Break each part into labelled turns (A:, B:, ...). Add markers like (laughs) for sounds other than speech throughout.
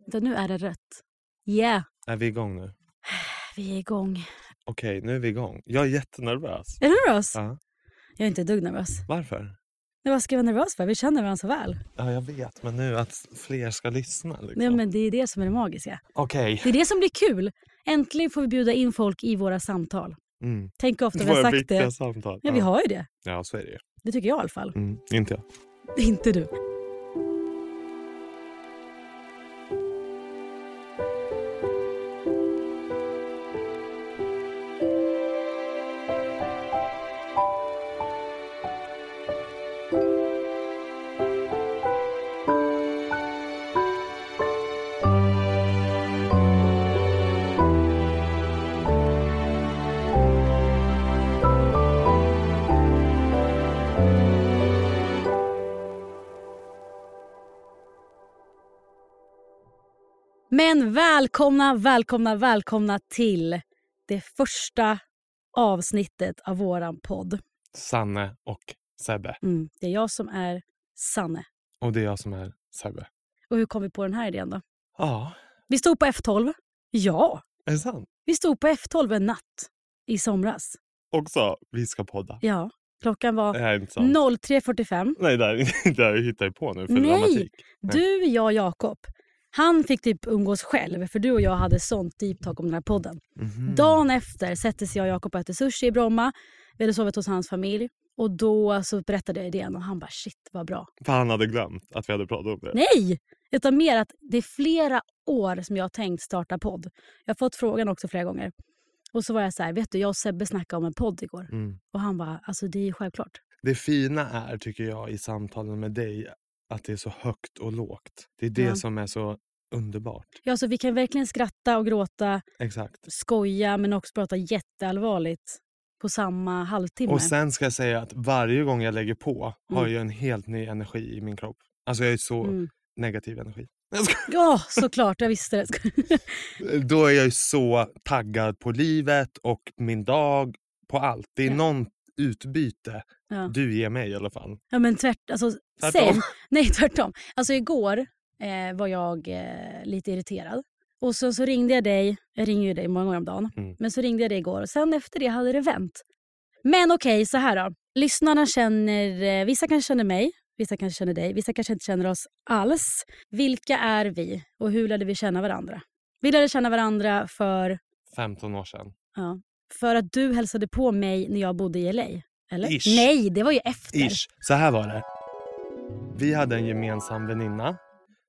A: Vänta, nu är det rött. Yeah,
B: Är vi igång nu?
A: vi är igång.
B: Okej, nu är vi igång. Jag är jättenervös.
A: Är du nervös?
B: Ja.
A: Jag är inte ett dugg nervös.
B: Varför?
A: Men vad ska jag vara nervös för? Vi känner varandra så väl.
B: Ja, jag vet, men nu att fler ska lyssna. Liksom.
A: Nej, men det är det som är det magiska.
B: Okej.
A: Det är det som blir kul. Äntligen får vi bjuda in folk i våra samtal.
B: Mm.
A: Tänk ofta vi har
B: Våra
A: sagt
B: viktiga
A: det.
B: samtal.
A: Ja, vi har ju det.
B: ja, så är det ju.
A: Det tycker jag i alla fall.
B: Mm. Inte jag.
A: Inte du. Men välkomna, välkomna, välkomna till det första avsnittet av våran podd.
B: Sanne och Sebbe.
A: Mm. Det är jag som är Sanne.
B: Och det är jag som är Sebbe.
A: Och hur kom vi på den här idén då?
B: Ja,
A: Vi stod på F12. Ja,
B: är det sant?
A: vi stod på F12 en natt i somras.
B: Också, vi ska podda.
A: Ja, klockan var
B: Det här är inte sant.
A: 03.45.
B: Nej, det här, (laughs) det här hittar jag på nu för
A: Nej.
B: dramatik.
A: Du, jag, Jakob. Han fick typ umgås själv, för du och jag hade sånt deep talk om den här podden.
B: Mhm.
A: Dagen efter sätter sig jag och Jakob och äter sushi i Bromma. Vi hade sovit hos hans familj. Och då så berättade jag idén och han bara shit vad bra.
B: För han hade glömt att vi hade pratat om det.
A: Nej! Utan mer att det är flera år som jag har tänkt starta podd. Jag har fått frågan också flera gånger. Och så var jag så här, vet du jag och Sebbe snackade om en podd igår.
B: Mm.
A: Och han bara, alltså det är ju självklart.
B: Det fina är, tycker jag, i samtalen med dig att det är så högt och lågt. Det är det
A: Ja.
B: som är så underbart.
A: Ja, så vi kan verkligen skratta och gråta,
B: Exakt.
A: skoja men också prata jätteallvarligt på samma halvtimme.
B: Och sen ska jag säga att varje gång jag lägger på har
A: Mm.
B: jag en helt ny energi i min kropp. Alltså jag är så
A: Mm.
B: negativ energi.
A: Ja, såklart. Jag visste det. (laughs)
B: Då är jag ju så taggad på livet och min dag, på allt. Det är
A: Ja.
B: någon utbyte
A: Ja.
B: du ger mig i alla fall.
A: Ja, men tvärt, alltså,
B: Tvärtom.
A: Sen, nej, (laughs) tvärtom. Alltså igår eh, var jag eh, lite irriterad. Och så, så ringde jag dig. Jag ringer ju dig många gånger om dagen.
B: Mm.
A: Men så ringde jag dig igår och sen efter det hade det vänt. Men okej, så här då. Lyssnarna känner... Eh, vissa kanske känner mig, vissa kanske känner dig, vissa kanske inte känner oss alls. Vilka är vi och hur lärde vi känna varandra? Vi lärde känna varandra för,
B: 15 år sedan.
A: ja, för att du hälsade på mig när jag bodde i LA. Eller?
B: Ish.
A: Nej, det var ju efter.
B: Ish. Så här var det. Vi hade en gemensam väninna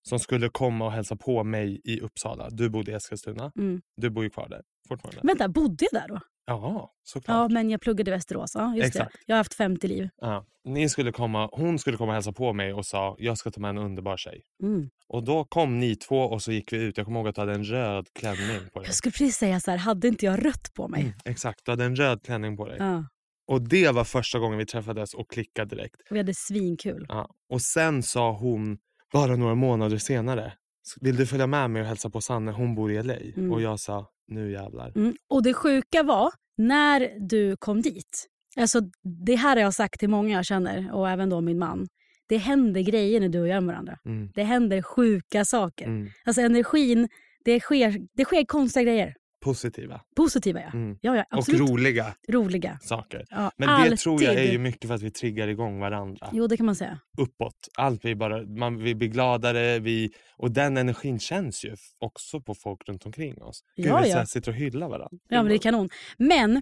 B: som skulle komma och hälsa på mig i Uppsala. Du bodde i Eskilstuna.
A: Mm.
B: Du bor ju kvar där fortfarande.
A: Vänta, bodde jag där då?
B: Ja,
A: Ja,
B: såklart.
A: men jag pluggade i Västerås. Ja, just
B: Exakt.
A: det. Jag har haft 50 liv.
B: Ja. Ni skulle komma, hon skulle komma och hälsa på mig och sa jag ska ta med en underbar tjej.
A: Mm.
B: Och då kom ni två och så gick vi ut. Jag kommer ihåg att du hade en röd klänning på dig.
A: Jag skulle precis säga så här, hade inte jag rött på mig?
B: Mm, exakt, du hade en röd klänning på dig.
A: Ja,
B: Och det var första gången vi träffades och klickade direkt.
A: och vi hade svinkul.
B: Ja. Och sen sa hon, bara några månader senare, "S- vill du följa med mig och hälsa på Sanne? Hon bor i LA.
A: Mm.
B: Och jag sa, nu jävlar.
A: Mm. Och det sjuka var, när du kom dit, alltså det här har jag sagt till många jag känner och även då min man. Det händer grejer när du och jag är med varandra.
B: Mm.
A: Det händer sjuka saker.
B: Mm.
A: Alltså energin, det sker, det sker konstiga grejer.
B: Positiva
A: Positiva ja.
B: Mm.
A: Ja, ja
B: och
A: absolut.
B: roliga
A: Roliga.
B: saker.
A: Ja,
B: Men det tror jag är
A: alltid.
B: ju mycket för att vi triggar igång varandra.
A: Jo, det kan man säga.
B: Uppåt. Allt blir bara, man, vi blir gladare. Vi, och den energin känns ju f- också på folk runt omkring oss. Gud,
A: Ja,
B: vi
A: ja.
B: så här sitter och hyllar varandra.
A: Ja, men det är kanon. Men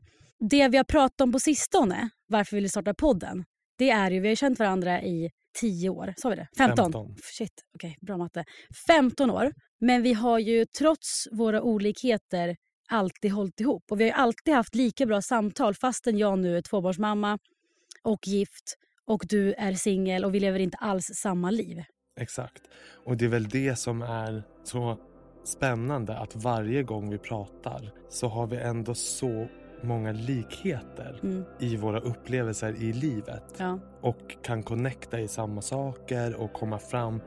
A: det vi har pratat om på sistone, varför vi vill starta podden, det är ju, vi har ju känt varandra i 10 år. Sa vi det? 15?
B: 15.
A: Shit, okej, bra matte. 15 år. Men vi har ju trots våra olikheter alltid hållit ihop. Och vi har ju alltid haft lika bra samtal fastän jag nu är tvåbarnsmamma och gift och du är singel och vi lever inte alls samma liv.
B: Exakt. Och det är väl det som är så spännande att varje gång vi pratar så har vi ändå så många likheter
A: Mm.
B: i våra upplevelser i livet
A: Ja.
B: och kan connecta i samma saker och komma fram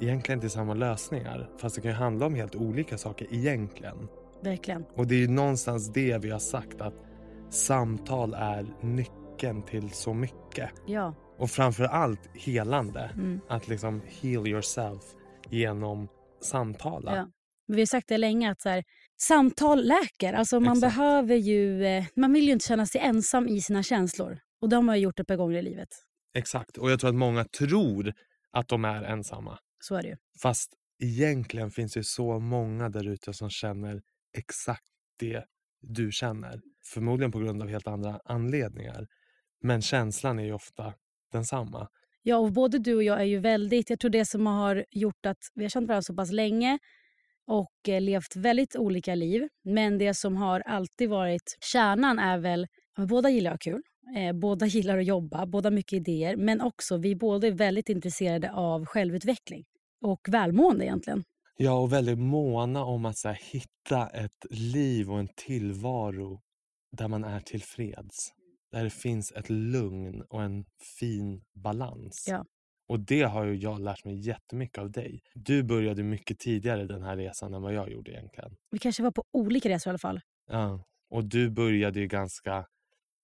B: egentligen till samma lösningar. Fast det kan ju handla om helt olika saker egentligen.
A: Verkligen.
B: Och det är ju någonstans det vi har sagt att samtal är nyckeln till så mycket.
A: Ja.
B: Och framför allt helande
A: Mm.
B: att liksom heal yourself genom samtala.
A: Ja. Men vi har sagt det länge att så här, samtal läker. Alltså man,
B: Exakt.
A: behöver ju, eh, man vill ju inte känna sig ensam i sina känslor. Och det har man ju gjort ett par gånger i livet.
B: Exakt. Och jag tror att många tror att de är ensamma.
A: Så är det ju.
B: Fast egentligen finns det ju så många där ute som känner exakt det du känner. Förmodligen på grund av helt andra anledningar. Men känslan är ju ofta densamma.
A: Ja, och både du och jag är ju väldigt... Jag tror det som har gjort att vi har känt varandra så pass länge och eh, levt väldigt olika liv. Men det som har alltid varit kärnan är väl... ja, men Båda gillar att ha kul. Eh, båda (laughs) gillar att jobba, båda har mycket idéer. Men också, vi båda är väldigt intresserade av självutveckling och välmående egentligen.
B: Ja, och väldigt måna om att så här, hitta ett liv och en tillvaro där man är tillfreds. Där det finns ett lugn och en fin balans.
A: Ja.
B: Och det har ju jag lärt mig jättemycket av dig. Du började mycket tidigare den här resan än vad jag gjorde egentligen.
A: Vi kanske var på olika resor i alla fall.
B: Ja. Och du började ju ganska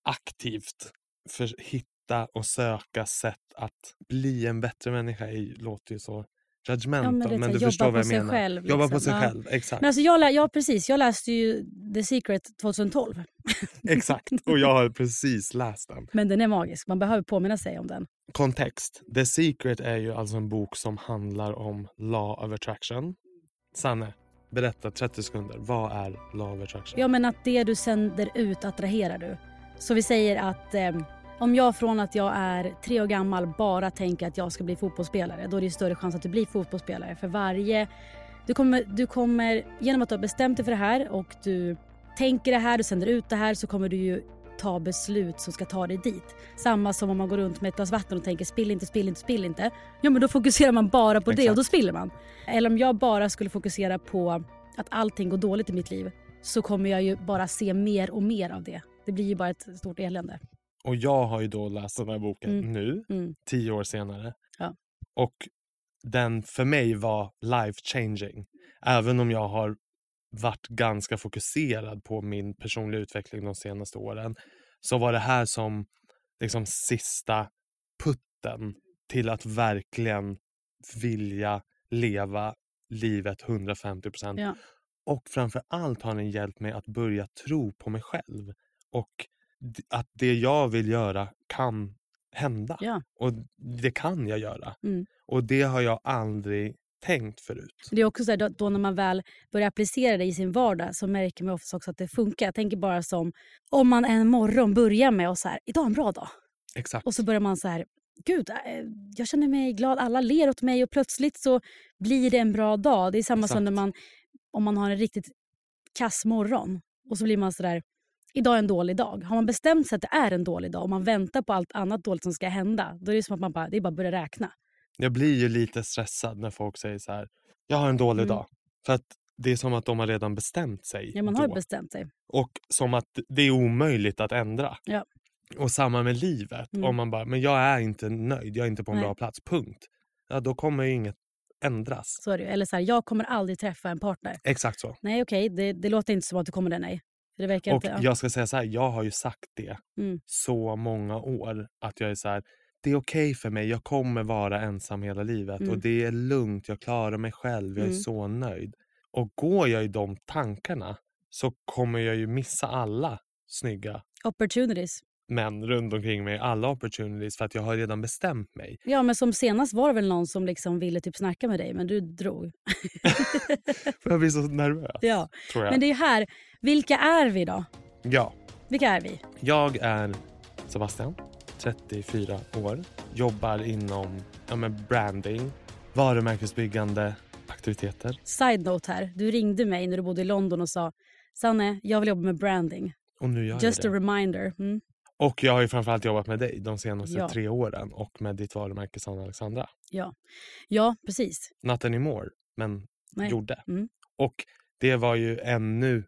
B: aktivt för hitta och söka sätt att bli en bättre människa. Det låter ju så judgmental,
A: men det är
B: men,
A: så här,
B: du
A: jobba
B: förstår
A: på
B: vad jag
A: sig
B: menar.
A: själv,
B: jobba på
A: liksom.
B: sig
A: Ja.
B: själv, exakt.
A: Men alltså jag, lä- ja, precis. Jag läste ju The Secret 2012.
B: exakt. Och jag har precis läst den.
A: Men den är magisk. Man behöver påminna sig om den.
B: Kontext. The Secret är ju alltså en bok som handlar om Law of Attraction. Sanne, berätta 30 sekunder. Vad är Law of Attraction?
A: Ja, men att det du sänder ut attraherar du. Så vi säger att eh, om jag från att jag är tre år gammal bara tänker att jag ska bli fotbollsspelare, då är det ju större chans att du blir fotbollsspelare. För varje... Du kommer, du kommer, genom att du har bestämt dig för det här och du tänker det här, du sänder ut det här, så kommer du ju ta beslut som ska ta dig dit. Samma som om man går runt med ett glas vatten och tänker spill inte, spill inte, spill inte. Ja, men då fokuserar man bara på det och då
B: Exakt.
A: spiller man. Eller om jag bara skulle fokusera på att allting går dåligt i mitt liv så kommer jag ju bara se mer och mer av det. Det blir ju bara ett stort elände.
B: Och jag har ju då läst den här boken
A: Mm.
B: nu,
A: Mm.
B: tio år senare.
A: Ja.
B: Och den för mig var life changing. Även om jag har varit ganska fokuserad på min personliga utveckling de senaste åren så var det här som liksom sista putten till att verkligen vilja leva livet 150 procent.
A: Ja.
B: Och framför allt har den hjälpt mig att börja tro på mig själv och d- att det jag vill göra kan hända.
A: Ja.
B: Och det kan jag göra.
A: Mm.
B: Och det har jag aldrig tänkt förut.
A: Det är också så här, då, då när man väl börjar applicera det i sin vardag så märker man ofta också att det funkar. Jag tänker bara som om man en morgon börjar med och så här, idag är en bra dag.
B: Exakt.
A: Och så börjar man så här, gud, eh, jag känner mig glad, alla ler åt mig och plötsligt så blir det en bra dag. Det är samma som när
B: Exakt.
A: man, om man har en riktigt kass morgon och så blir man så där, idag är en dålig dag. Har man bestämt sig att det är en dålig dag och man väntar på allt annat dåligt som ska hända, då är det som att man bara, det är bara att börja räkna.
B: Jag blir ju lite stressad när folk säger så här. Jag har en dålig
A: Mm.
B: dag. För att det är som att de har redan bestämt sig.
A: Ja, man har
B: då.
A: ju bestämt sig.
B: Och som att det är omöjligt att ändra.
A: Ja.
B: Och samma med livet.
A: Mm.
B: Om man bara, men jag är inte nöjd, jag är inte på en
A: Nej.
B: bra plats, punkt. Ja, då kommer ju inget ändras.
A: Så är det ju. Eller så här, jag kommer aldrig träffa en partner.
B: Exakt så.
A: Nej, okej, det, det låter inte som att du kommer det, nej. Det verkar
B: Och
A: inte... ja.
B: jag ska säga så här, jag har ju sagt det
A: Mm.
B: så många år. Att jag är så här, det är okej för mig, jag kommer vara ensam hela livet. Och
A: Mm.
B: det är lugnt, jag klarar mig själv, jag är
A: Mm.
B: så nöjd. Och går jag i de tankarna så kommer jag ju missa alla snygga
A: Opportunities.
B: män runt omkring mig, alla opportunities för att jag har redan bestämt mig.
A: Ja, men som senast var det väl någon som liksom ville typ snacka med dig, men du drog.
B: För jag blir så nervös,
A: Ja,
B: tror jag.
A: men det är ju här. Vilka är vi då?
B: Ja.
A: Vilka är vi?
B: Jag är Sebastian, 34 år. Jobbar inom ja, men branding, varumärkesbyggande, aktiviteter.
A: Side note här. Du ringde mig när du bodde i London och sa Sanne, jag vill jobba med branding.
B: Och nu gör
A: Just a
B: jag det.
A: reminder. Mm.
B: Och jag har ju framförallt jobbat med dig de senaste
A: Ja.
B: tre åren och med ditt varumärke Sanna Alexandra.
A: Ja, precis.
B: Not anymore, men
A: Nej.
B: gjorde.
A: Mm.
B: Och det var ju ännu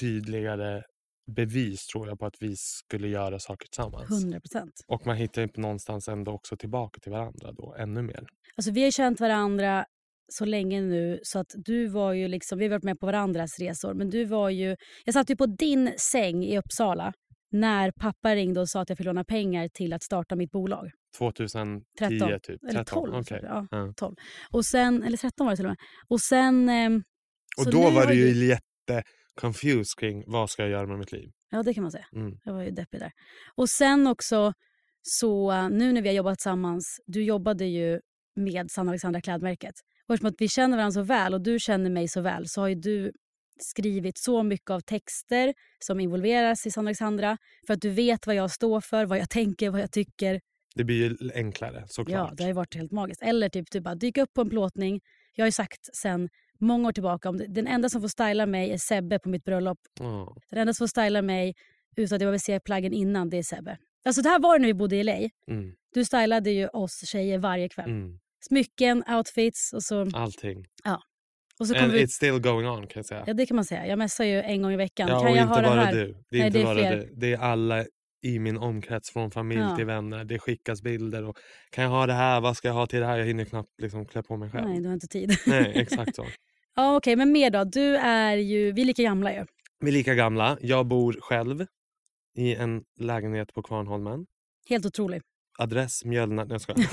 B: tydligare bevis tror jag på att vi skulle göra saker tillsammans.
A: 100 procent.
B: Och man hittar ju någonstans ändå också tillbaka till varandra då ännu mer.
A: Alltså, vi har ju känt varandra så länge nu så att du var ju liksom, vi har varit med på varandras resor men du var ju, jag satt ju på din säng i Uppsala när pappa ringde och sa att jag fick låna pengar till att starta mitt bolag.
B: 2010
A: 13,
B: typ?
A: eller 12,
B: okej.
A: ja.
B: Ja.
A: Och sen, eller 13 var det till och med. Och sen ehm,
B: Och
A: Så
B: då
A: nu
B: var
A: har
B: det
A: du-
B: ju jätte confused kring vad ska jag göra med mitt liv.
A: Ja, det kan man säga.
B: Mm.
A: Jag var ju deppig där. Och sen också, så eh, nu när vi har jobbat tillsammans, du jobbade ju med Sanna Alexandra klädmärket. Och eftersom att vi känner varandra så väl och du känner mig så väl så har ju du skrivit så mycket av texter som involveras i Sanna Alexandra för att du vet vad jag står för, vad jag tänker, vad jag tycker.
B: Det blir ju enklare
A: Ja,
B: såklart.
A: det har ju varit helt magiskt. Eller typ du bara dyka upp på en plåtning. Jag har ju sagt sen många år tillbaka om det- den enda som får styla mig är Sebbe på mitt bröllop
B: Ja.
A: den enda som får styla mig utan att jag behöver se plaggen innan, det är Sebbe. Alltså det här var det när vi bodde i LA.
B: Mm.
A: Du stylade ju oss tjejer varje kväll.
B: Mm.
A: Smycken, outfits och så,
B: Allting.
A: och så kom
B: And
A: vi...
B: it's still going on kan jag säga.
A: Ja, det kan man säga. Jag messar ju en gång i veckan.
B: Ja,
A: kan
B: och
A: jag
B: inte
A: ha det
B: bara
A: här?
B: du. Det är
A: Nej,
B: inte
A: det är
B: bara
A: fler.
B: du. Det är alla i min omkrets från familj
A: Ja.
B: till vänner. Det skickas bilder och kan jag ha det här? Vad ska jag ha till det här? Jag hinner knappt liksom klä på mig själv.
A: Nej, du har inte tid. (laughs)
B: Nej, exakt så.
A: ja, okej, men mer då. Du är ju... Vi är lika gamla ju.
B: Vi är lika gamla. Jag bor själv i en lägenhet på Kvarnholmen.
A: Helt otrolig.
B: Adress Mjölna. Nej,
A: (laughs)
B: jag skojar.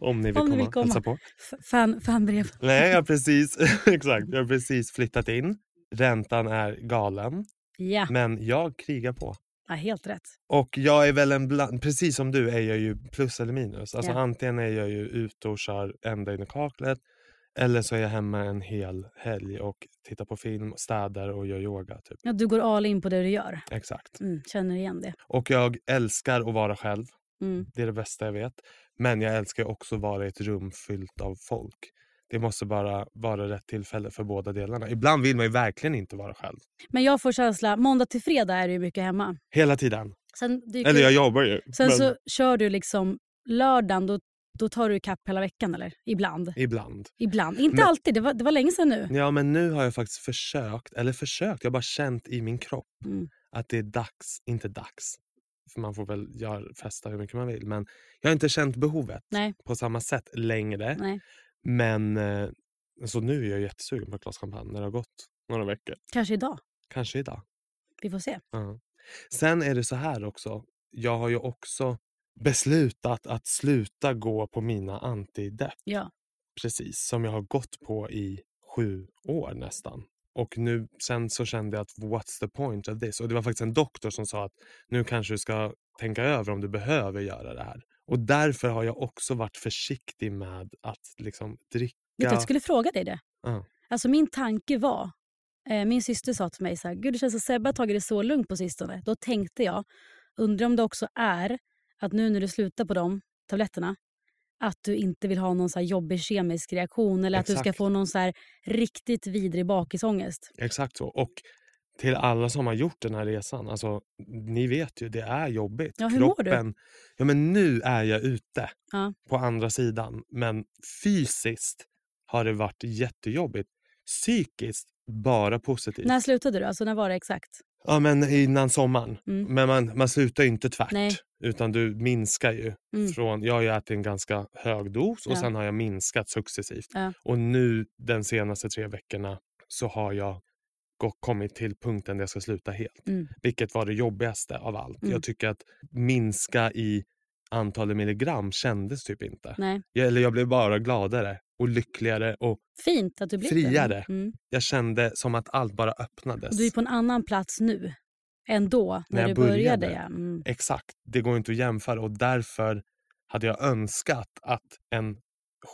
B: Om ni vill,
A: Om ni vill
B: komma,
A: komma.
B: hälsa på.
A: F- Fan, fanbrev.
B: Nej, jag
A: (laughs)
B: har precis, (laughs) exakt, jag har precis flyttat in. Räntan är galen,
A: Ja,
B: men jag krigar på.
A: ja, helt rätt.
B: Och jag är väl en bland, precis som du är jag ju plus eller minus. Alltså
A: Ja.
B: antingen är jag ju ute och kör ända in i kaklet eller så är jag hemma en hel helg och tittar på film, städar och gör yoga. Typ.
A: Ja, du går all in på det du gör.
B: Exakt.
A: Mm, känner igen det.
B: Och jag älskar att vara själv.
A: Mm.
B: Det är det bästa jag vet. Men jag älskar ju också att vara i ett rum fyllt av folk. Det måste bara vara rätt tillfälle för båda delarna. Ibland vill man ju verkligen inte vara själv.
A: Men jag får känsla... Måndag till fredag är du ju mycket hemma.
B: Hela tiden.
A: Sen dyker
B: Eller jag jobbar ju.
A: Sen
B: men
A: så kör du liksom lördagen, då, då tar du kapp hela veckan eller? Ibland.
B: Ibland.
A: Ibland. Inte
B: Men-
A: alltid, det var, det var länge sedan nu.
B: Ja, men nu har jag faktiskt försökt, eller försökt, jag har bara känt i min kropp
A: Mm.
B: att det är dags, inte dags, för man får väl göra, festa hur mycket man vill, men jag har inte känt behovet
A: Nej.
B: på samma sätt längre.
A: Nej.
B: Men eh, så nu är jag jättesugen på ett glas champagne när det har gått några veckor.
A: Kanske idag.
B: Kanske idag.
A: Vi får se.
B: Ja. Sen är det så här också, jag har ju också beslutat att sluta gå på mina antidepp.
A: Ja.
B: precis som jag har gått på i sju år nästan. Och nu sen så kände jag att what's the point of this? Och det var faktiskt en doktor som sa att nu kanske du ska tänka över om du behöver göra det här. Och därför har jag också varit försiktig med att liksom dricka.
A: Vet du, jag skulle fråga dig det.
B: Ja.
A: Alltså min tanke var, eh, min syster sa till mig så här, gud det känns som Sebbe har tagit det så lugnt på sistone. Då tänkte jag, undrar om det också är att nu när du slutar på de tabletterna, att du inte vill ha någon så här jobbig kemisk reaktion eller att du ska
B: Exakt.
A: få någon så här riktigt vidrig bakisångest.
B: Exakt så. Och till alla som har gjort den här resan, alltså ni vet ju, det är jobbigt.
A: Ja, hur mår du?
B: Ja, men nu är jag ute
A: Ja.
B: på andra sidan, men fysiskt har det varit jättejobbigt. Psykiskt bara positivt.
A: När slutade du? Alltså när var det exakt?
B: Ja, men innan sommaren.
A: Mm.
B: Men man, man slutar ju inte tvärt,
A: Nej.
B: utan du minskar ju.
A: Mm.
B: Från, jag har ju ätit en ganska hög dos och
A: Ja.
B: sen har jag minskat successivt.
A: Ja.
B: Och nu den senaste tre veckorna så har jag gå- kommit till punkten där jag ska sluta helt.
A: Mm.
B: Vilket var det jobbigaste av allt.
A: Mm.
B: Jag tycker att minska i antalet milligram kändes typ inte.
A: Nej.
B: Jag, eller jag blev bara gladare och lyckligare och
A: Fint att du blev det.
B: Friare.
A: Mm.
B: jag kände som att allt bara öppnades.
A: Och du är på en annan plats nu än då när,
B: När jag
A: du började.
B: började.
A: ja. Mm.
B: Exakt, det går inte att jämföra och därför hade jag önskat att en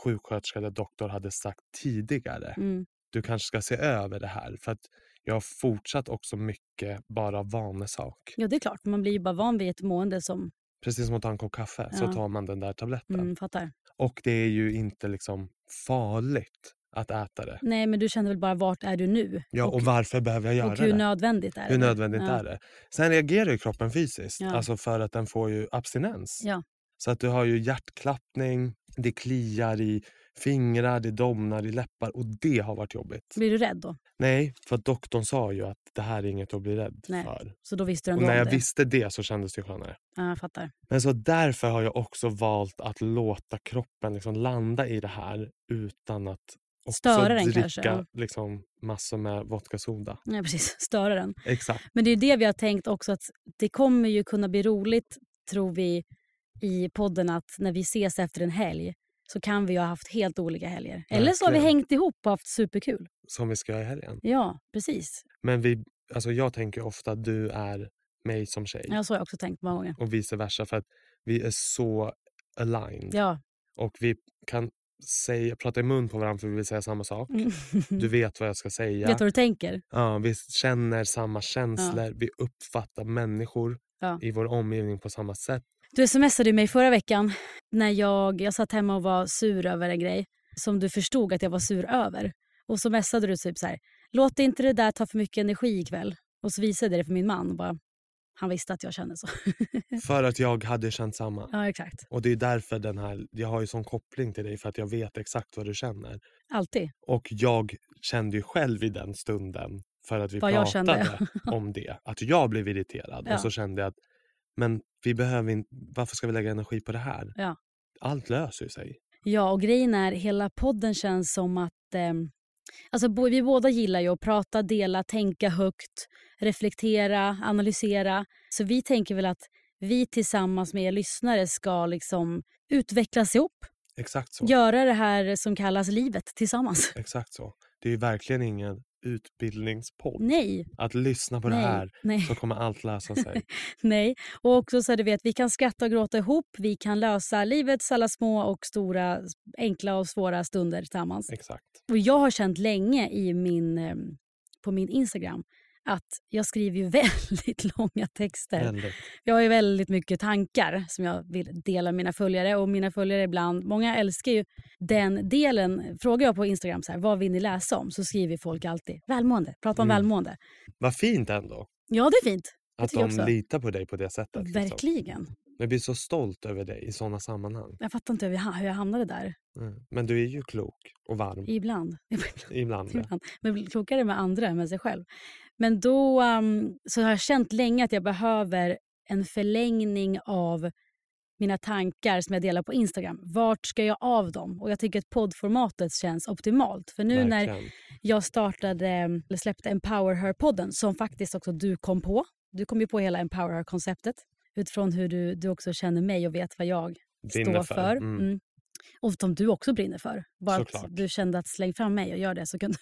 B: sjuksköterska eller doktor hade sagt tidigare.
A: Mm.
B: Du kanske ska se över det här för att jag har fortsatt också mycket bara vanesak.
A: Ja, det är klart. Man blir ju bara van vid ett mående som...
B: Precis som att ta en kopp kaffe så
A: Ja.
B: tar man den där tabletten.
A: Mm, fattar.
B: Och det är ju inte liksom farligt att äta det.
A: Nej, men du kände väl bara vart är du nu?
B: Ja, och,
A: och,
B: varför behöver jag göra
A: och hur
B: det?
A: nödvändigt är det?
B: Hur nödvändigt
A: ja.
B: är det? Sen reagerar ju kroppen fysiskt,
A: Ja.
B: alltså för att den får ju abstinens.
A: Ja.
B: Så att du har ju hjärtklappning, det kliar i fingrar, det domnar i läppar och det har varit jobbigt.
A: Blir du rädd då?
B: Nej, för att doktorn sa ju att det här är inget att bli rädd
A: Nej,
B: för.
A: Så då visste du
B: Och
A: ändå
B: när
A: om
B: jag
A: det?
B: visste det så kändes det ju skönare.
A: Ja, jag fattar.
B: Men så därför har jag också valt att låta kroppen liksom landa i det här utan att också
A: Störa den
B: dricka
A: kanske, ja.
B: liksom massor med vodka soda.
A: Ja, precis. (laughs) Störa den.
B: Exakt.
A: Men det är ju det vi har tänkt också att det kommer ju kunna bli roligt tror vi i podden att när vi ses efter en helg så kan vi ha haft helt olika helger. Eller så har vi
B: Verkligen.
A: hängt ihop och haft superkul.
B: Som vi ska göra i helgen.
A: Ja, precis.
B: Men vi, alltså jag tänker ofta att du är mig som tjej.
A: Ja, så har jag också tänkt många gånger.
B: Och vice versa för att vi är så aligned.
A: Ja.
B: Och vi kan säga, prata i mun på varandra för vi vill säga samma sak.
A: (laughs)
B: Du vet vad jag ska säga.
A: Vet vad du tänker?
B: Ja, vi känner samma känslor. Vi uppfattar människor
A: Ja.
B: i vår omgivning på samma sätt.
A: Du smsade ju mig förra veckan när jag, jag satt hemma och var sur över en grej som du förstod att jag var sur över. Och så messade du typ så här, låt inte det där ta för mycket energi ikväll. Och så visade jag det för min man och bara, han visste att jag kände så. (laughs)
B: För att jag hade känt samma.
A: ja, exakt.
B: Och det är därför den här, jag har ju sån koppling till dig för att jag vet exakt vad du känner.
A: Alltid.
B: Och jag kände ju själv i den stunden, för att vi
A: Vad jag kände, (laughs)
B: pratade om det, att jag blev irriterad.
A: Ja.
B: Och så kände jag att men vi behöver in, varför ska vi lägga energi på det här?
A: Ja.
B: Allt löser ju sig.
A: Ja, och grejen är hela podden känns som att... ehm, alltså, bo- vi båda gillar ju att prata, dela, tänka högt, reflektera, analysera. Så vi tänker väl att vi tillsammans med er lyssnare ska liksom utvecklas ihop.
B: Exakt så.
A: Göra det här som kallas livet tillsammans.
B: Exakt så. Det är ju verkligen ingen utbildningspodd.
A: Nej,
B: Att lyssna på
A: nej,
B: det här
A: nej,
B: så kommer allt lösa sig.
A: (laughs) nej. Och också så du vet, vi kan skratta och gråta ihop. Vi kan lösa livets alla små och stora, enkla och svåra stunder tillsammans.
B: Exakt.
A: Och jag har känt länge i min, eh, på min Instagram att jag skriver ju (laughs) väldigt långa texter.
B: Väldigt.
A: Jag har ju väldigt mycket tankar som jag vill dela med mina följare. Och mina följare ibland, Många älskar ju den delen. Frågar jag på Instagram så här, vad vill ni läsa om? Så skriver folk alltid välmående. Prata om
B: Mm.
A: välmående.
B: Vad fint ändå
A: Ja, det är fint.
B: att
A: tycker jag
B: de
A: också.
B: litar på dig på det sättet. liksom.
A: Verkligen.
B: Jag blir så stolt över dig i såna sammanhang.
A: Jag fattar inte hur jag, hur jag hamnade där.
B: Mm. Men du är ju klok och varm
A: Ibland. (laughs)
B: ibland. ja.
A: ibland. Men blir klokare med andra än med sig själv. Men då ehm, så har jag känt länge att jag behöver en förlängning av mina tankar som jag delar på Instagram. Vart ska jag av dem? Och jag tycker att poddformatet känns optimalt. För nu när
B: Verkligen.
A: jag startade, ehm, eller släppte Empower Her-podden som faktiskt också du kom på. Du kom ju på hela Empower Her-konceptet utifrån hur du, du också känner mig och vet vad jag
B: Brinner
A: står för. Mm. Och som du också brinner för. Bara
B: Såklart.
A: att du kände att släng fram mig och gör det så kan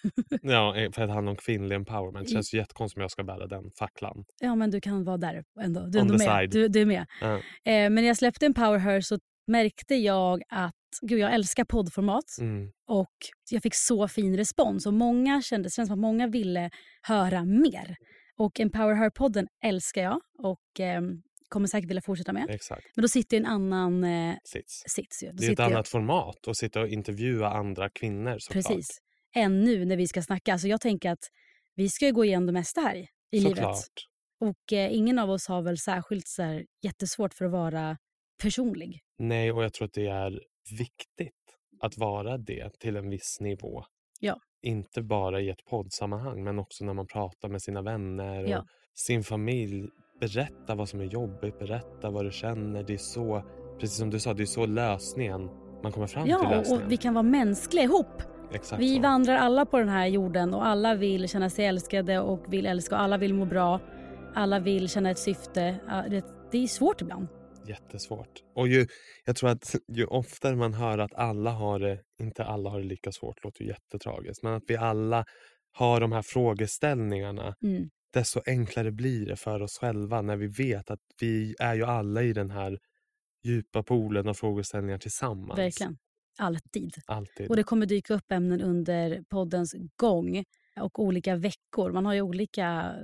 B: Ja, eh, för att handla om kvinnlig empowerment. Det
A: I-
B: känns ju jättekonstigt om jag ska bära den facklan.
A: Ja, men du kan vara där ändå. Du är
B: On
A: ändå
B: the
A: med.
B: side.
A: Du, du är med.
B: Ja.
A: Eh, men när jag släppte Empower Her så märkte jag att gud, jag älskar poddformat
B: Mm.
A: och jag fick så fin respons. Och många kände, det kändes som att många ville höra mer. Och Empower Her-podden älskar jag och eh, kommer säkert vilja fortsätta med.
B: Exakt.
A: Men då sitter ju en annan eh,
B: Sits.
A: sits. Ju. Då
B: Det är ett
A: sitter jag-
B: annat format att sitta och intervjua andra kvinnor såklart.
A: Precis. Än nu när vi ska snacka. Så jag tänker att vi ska ju gå igenom det mesta här i, i livet.
B: Såklart.
A: Och eh, ingen av oss har väl särskilt så här, jättesvårt för att vara personlig.
B: Nej, och jag tror att det är viktigt att vara det till en viss nivå.
A: Ja.
B: Inte bara i ett poddsammanhang, men också när man pratar med sina vänner och
A: Ja.
B: sin familj. Berätta vad som är jobbigt, berätta vad du känner. Det är så, precis som du sa, det är så lösningen man kommer fram till
A: Ja, och,
B: lösningen.
A: och vi kan vara mänskliga ihop.
B: Exakt
A: Vi
B: så.
A: vandrar alla på den här jorden och alla vill känna sig älskade och vill älska och alla vill må bra. Alla vill känna ett syfte. Ja, Det, det är svårt ibland.
B: Jättesvårt. Och ju, jag tror att (laughs) ju oftare man hör att alla har det, inte alla har det lika svårt, låter ju jättetragiskt, men att vi alla har de här frågeställningarna,
A: Mm.
B: desto enklare blir det för oss själva när vi vet att vi är ju alla i den här djupa poolen av frågeställningar tillsammans.
A: Verkligen. Alltid.
B: Alltid.
A: Och det kommer dyka upp ämnen under poddens gång och olika veckor. Man har ju olika,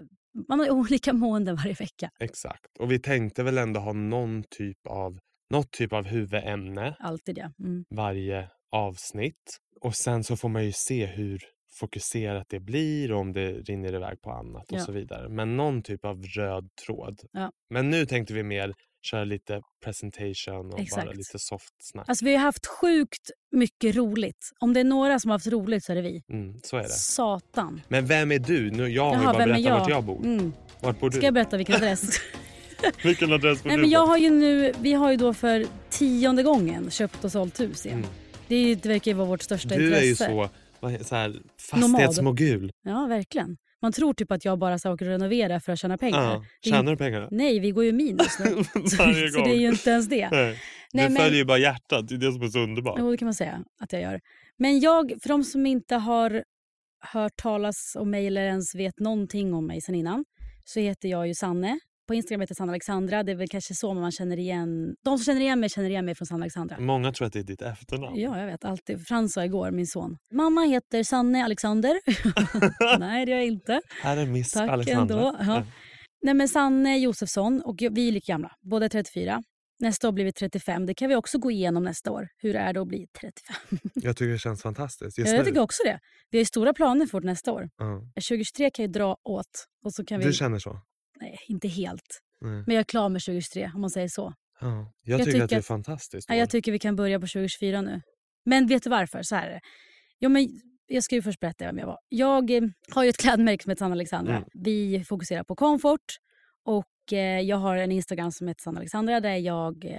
A: man har ju (laughs) olika måenden varje vecka.
B: Exakt. Och vi tänkte väl ändå ha någon typ av, något typ av huvudämne
A: Alltid ja. Mm.
B: varje avsnitt. Och sen så får man ju se hur fokuserat det blir och om det rinner iväg på annat och
A: Ja.
B: så vidare. Men någon typ av röd tråd.
A: Ja.
B: Men nu tänkte vi mer köra lite presentation och bara
A: Exakt.
B: lite soft snack.
A: Alltså vi har haft sjukt mycket roligt. Om det är några som har haft roligt så är det vi.
B: Mm, så är det.
A: Satan.
B: Men vem är du? Nu, jag har
A: Jaha,
B: ju bara
A: vem är
B: berättat vart
A: jag?
B: jag bor.
A: Mm.
B: Vart bor du?
A: Ska jag berätta vilken
B: (laughs)
A: adress?
B: Vilken adress bor
A: Nej,
B: du
A: men jag
B: på?
A: har ju nu, vi har ju då för tionde gången köpt och sålt hus igen.
B: Mm.
A: Det, är ju- det verkar ju vara vårt största
B: Du är ju
A: intresse.
B: så, vad, he- så här,
A: Nomad.
B: fastighetsmogul.
A: Ja, verkligen. Man Man tror typ att jag bara så här åker och renoverar för att tjäna pengar.
B: Ja.
A: Det är ju-
B: Tjänar du
A: (laughs)
B: pengar?
A: Nej, vi går ju minus nu. så,
B: (laughs) Varje
A: så det är
B: gång.
A: ju inte ens
B: (laughs)
A: det.
B: Nej.
A: Nej,
B: du
A: men-
B: följer ju bara hjärtat, det är det som är så underbart.
A: Jo, det kan man säga att jag gör. Men jag, för de som inte har hört talas om mig eller ens vet någonting om mig sen innan så heter jag ju Sanne. På Instagram heter jag Sanna Alexandra. Det är väl kanske så man känner igen... De som känner igen mig känner igen mig från Sanna Alexandra.
B: Många tror att det är ditt efternamn.
A: Ja, jag vet. Alltid. Frans sa igår, min son. Mamma heter Sanne
B: (laughs)
A: Alexander. (laughs) Nej, det gör jag inte.
B: Här är Miss
A: Tack
B: Alexandra.
A: ändå. Ja.
B: Ja.
A: Nej, men Sanne Josefsson och jag, vi är lika gamla, båda 34. Nästa år blir vi 35. Det kan vi också gå igenom nästa år. Hur är det att bli 35?
B: Jag tycker det känns fantastiskt just
A: Ja, jag
B: nu.
A: tycker också det. Vi har ju stora planer för vårt nästa år.
B: Ja.
A: 2023 kan ju dra åt. Och så kan vi,
B: Du känner så?
A: nej, inte helt.
B: Nej.
A: Men jag är klar med 2023 om man säger så.
B: Ja. Jag,
A: Mm. Jag
B: tycker, att det
A: tycker
B: är
A: att-
B: fantastiskt.
A: Nej,
B: år.
A: jag tycker vi kan börja på 2024 nu. Men vet du varför? Så här är det. Jo, men jag ska ju först berätta vem jag var. Jag eh, har ju ett (laughs) klädmärke som heter Sanna Alexandra.
B: Mm.
A: Vi fokuserar på komfort. Och eh, jag har en Instagram som heter Sanna Alexandra där jag, eh,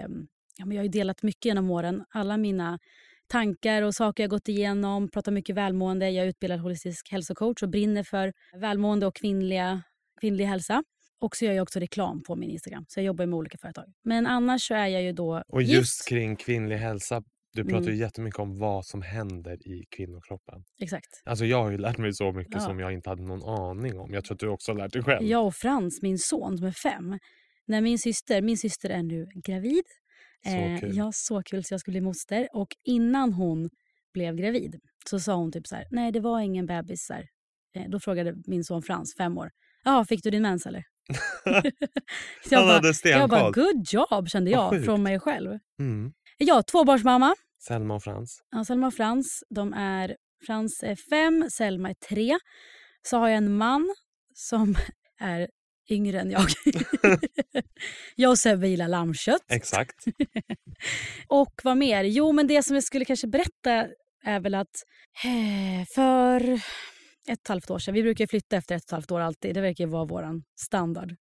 A: ja, men jag har ju delat mycket genom åren. Alla mina tankar och saker jag gått igenom. Pratar mycket välmående. Jag är utbildad holistisk hälsocoach och brinner för välmående och kvinnliga, kvinnlig hälsa. Och så gör jag också reklam på min Instagram. Så jag jobbar ju med olika företag. Men annars så är jag ju då
B: Och just
A: gift.
B: kring kvinnlig hälsa, du pratar
A: Mm.
B: ju jättemycket om vad som händer i kvinnokroppen.
A: Exakt.
B: Alltså jag har ju lärt mig så mycket
A: Ja.
B: som jag inte hade någon aning om. Jag tror att du också har lärt dig själv.
A: Jag och Frans, min son som är fem. När min syster, min syster är nu gravid. Eh,
B: Så kul.
A: ja, så kul så jag skulle bli moster. Och innan hon blev gravid så sa hon typ så här, nej det var ingen bebis. Så här. Eh, då frågade min son Frans, fem år, ja fick du din mens
B: (laughs)
A: eller? (laughs) så jag,
B: Han
A: bara,
B: hade
A: jag bara,
B: stenkoll.
A: good job kände
B: Vad
A: jag
B: sjukt.
A: från mig själv.
B: Mm.
A: Ja, tvåbarnsmamma.
B: Selma
A: (laughs)
B: och Frans.
A: Ja, Selma och Frans, de är, Frans är fem, Selma är tre. Så har jag en man som (laughs) är yngre än jag. jag och Sebbe gillar lammkött.
B: Exakt.
A: Och vad mer? Jo, men det som jag skulle kanske berätta är väl att eh, för ett och ett halvt år sedan, vi brukar ju flytta efter ett och ett halvt år alltid, det verkar ju vara vår standard.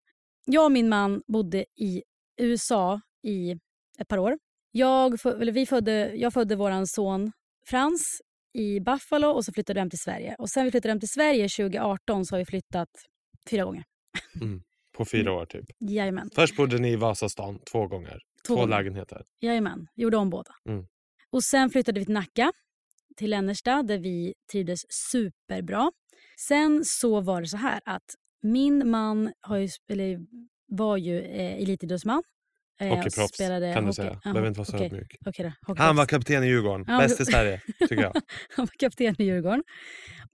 A: Jag och min man bodde i USA i ett par år. Jag, fö- eller vi födde, jag födde vår son Frans i Buffalo och så flyttade vi hem till Sverige. Och sen vi flyttade hem till Sverige 2018 så har vi flyttat fyra gånger.
B: På fyra
A: Mm.
B: år typ.
A: Jajamän.
B: Först bodde ni i Vasastan två gånger. Två,
A: gånger.
B: lägenheter.
A: Jajamän, gjorde om båda.
B: Mm.
A: Och sen flyttade vi till Nacka, till Lennersta, där vi trivdes superbra. Sen så var det så här att min man har ju, sp- eller, var ju eh, elitidrottsman. Eh, och
B: Hockeyproffs
A: spelade
B: kan du
A: hockey.
B: säga.
A: Ja,
B: Behöver inte vara så
A: okej,
B: ödmjuk.
A: okej då,
B: Han var
A: hockeyproffs.
B: kapten i Djurgården.
A: Ja,
B: Bäst
A: men-
B: i Sverige tycker jag.
A: (laughs) han var kapten i Djurgården.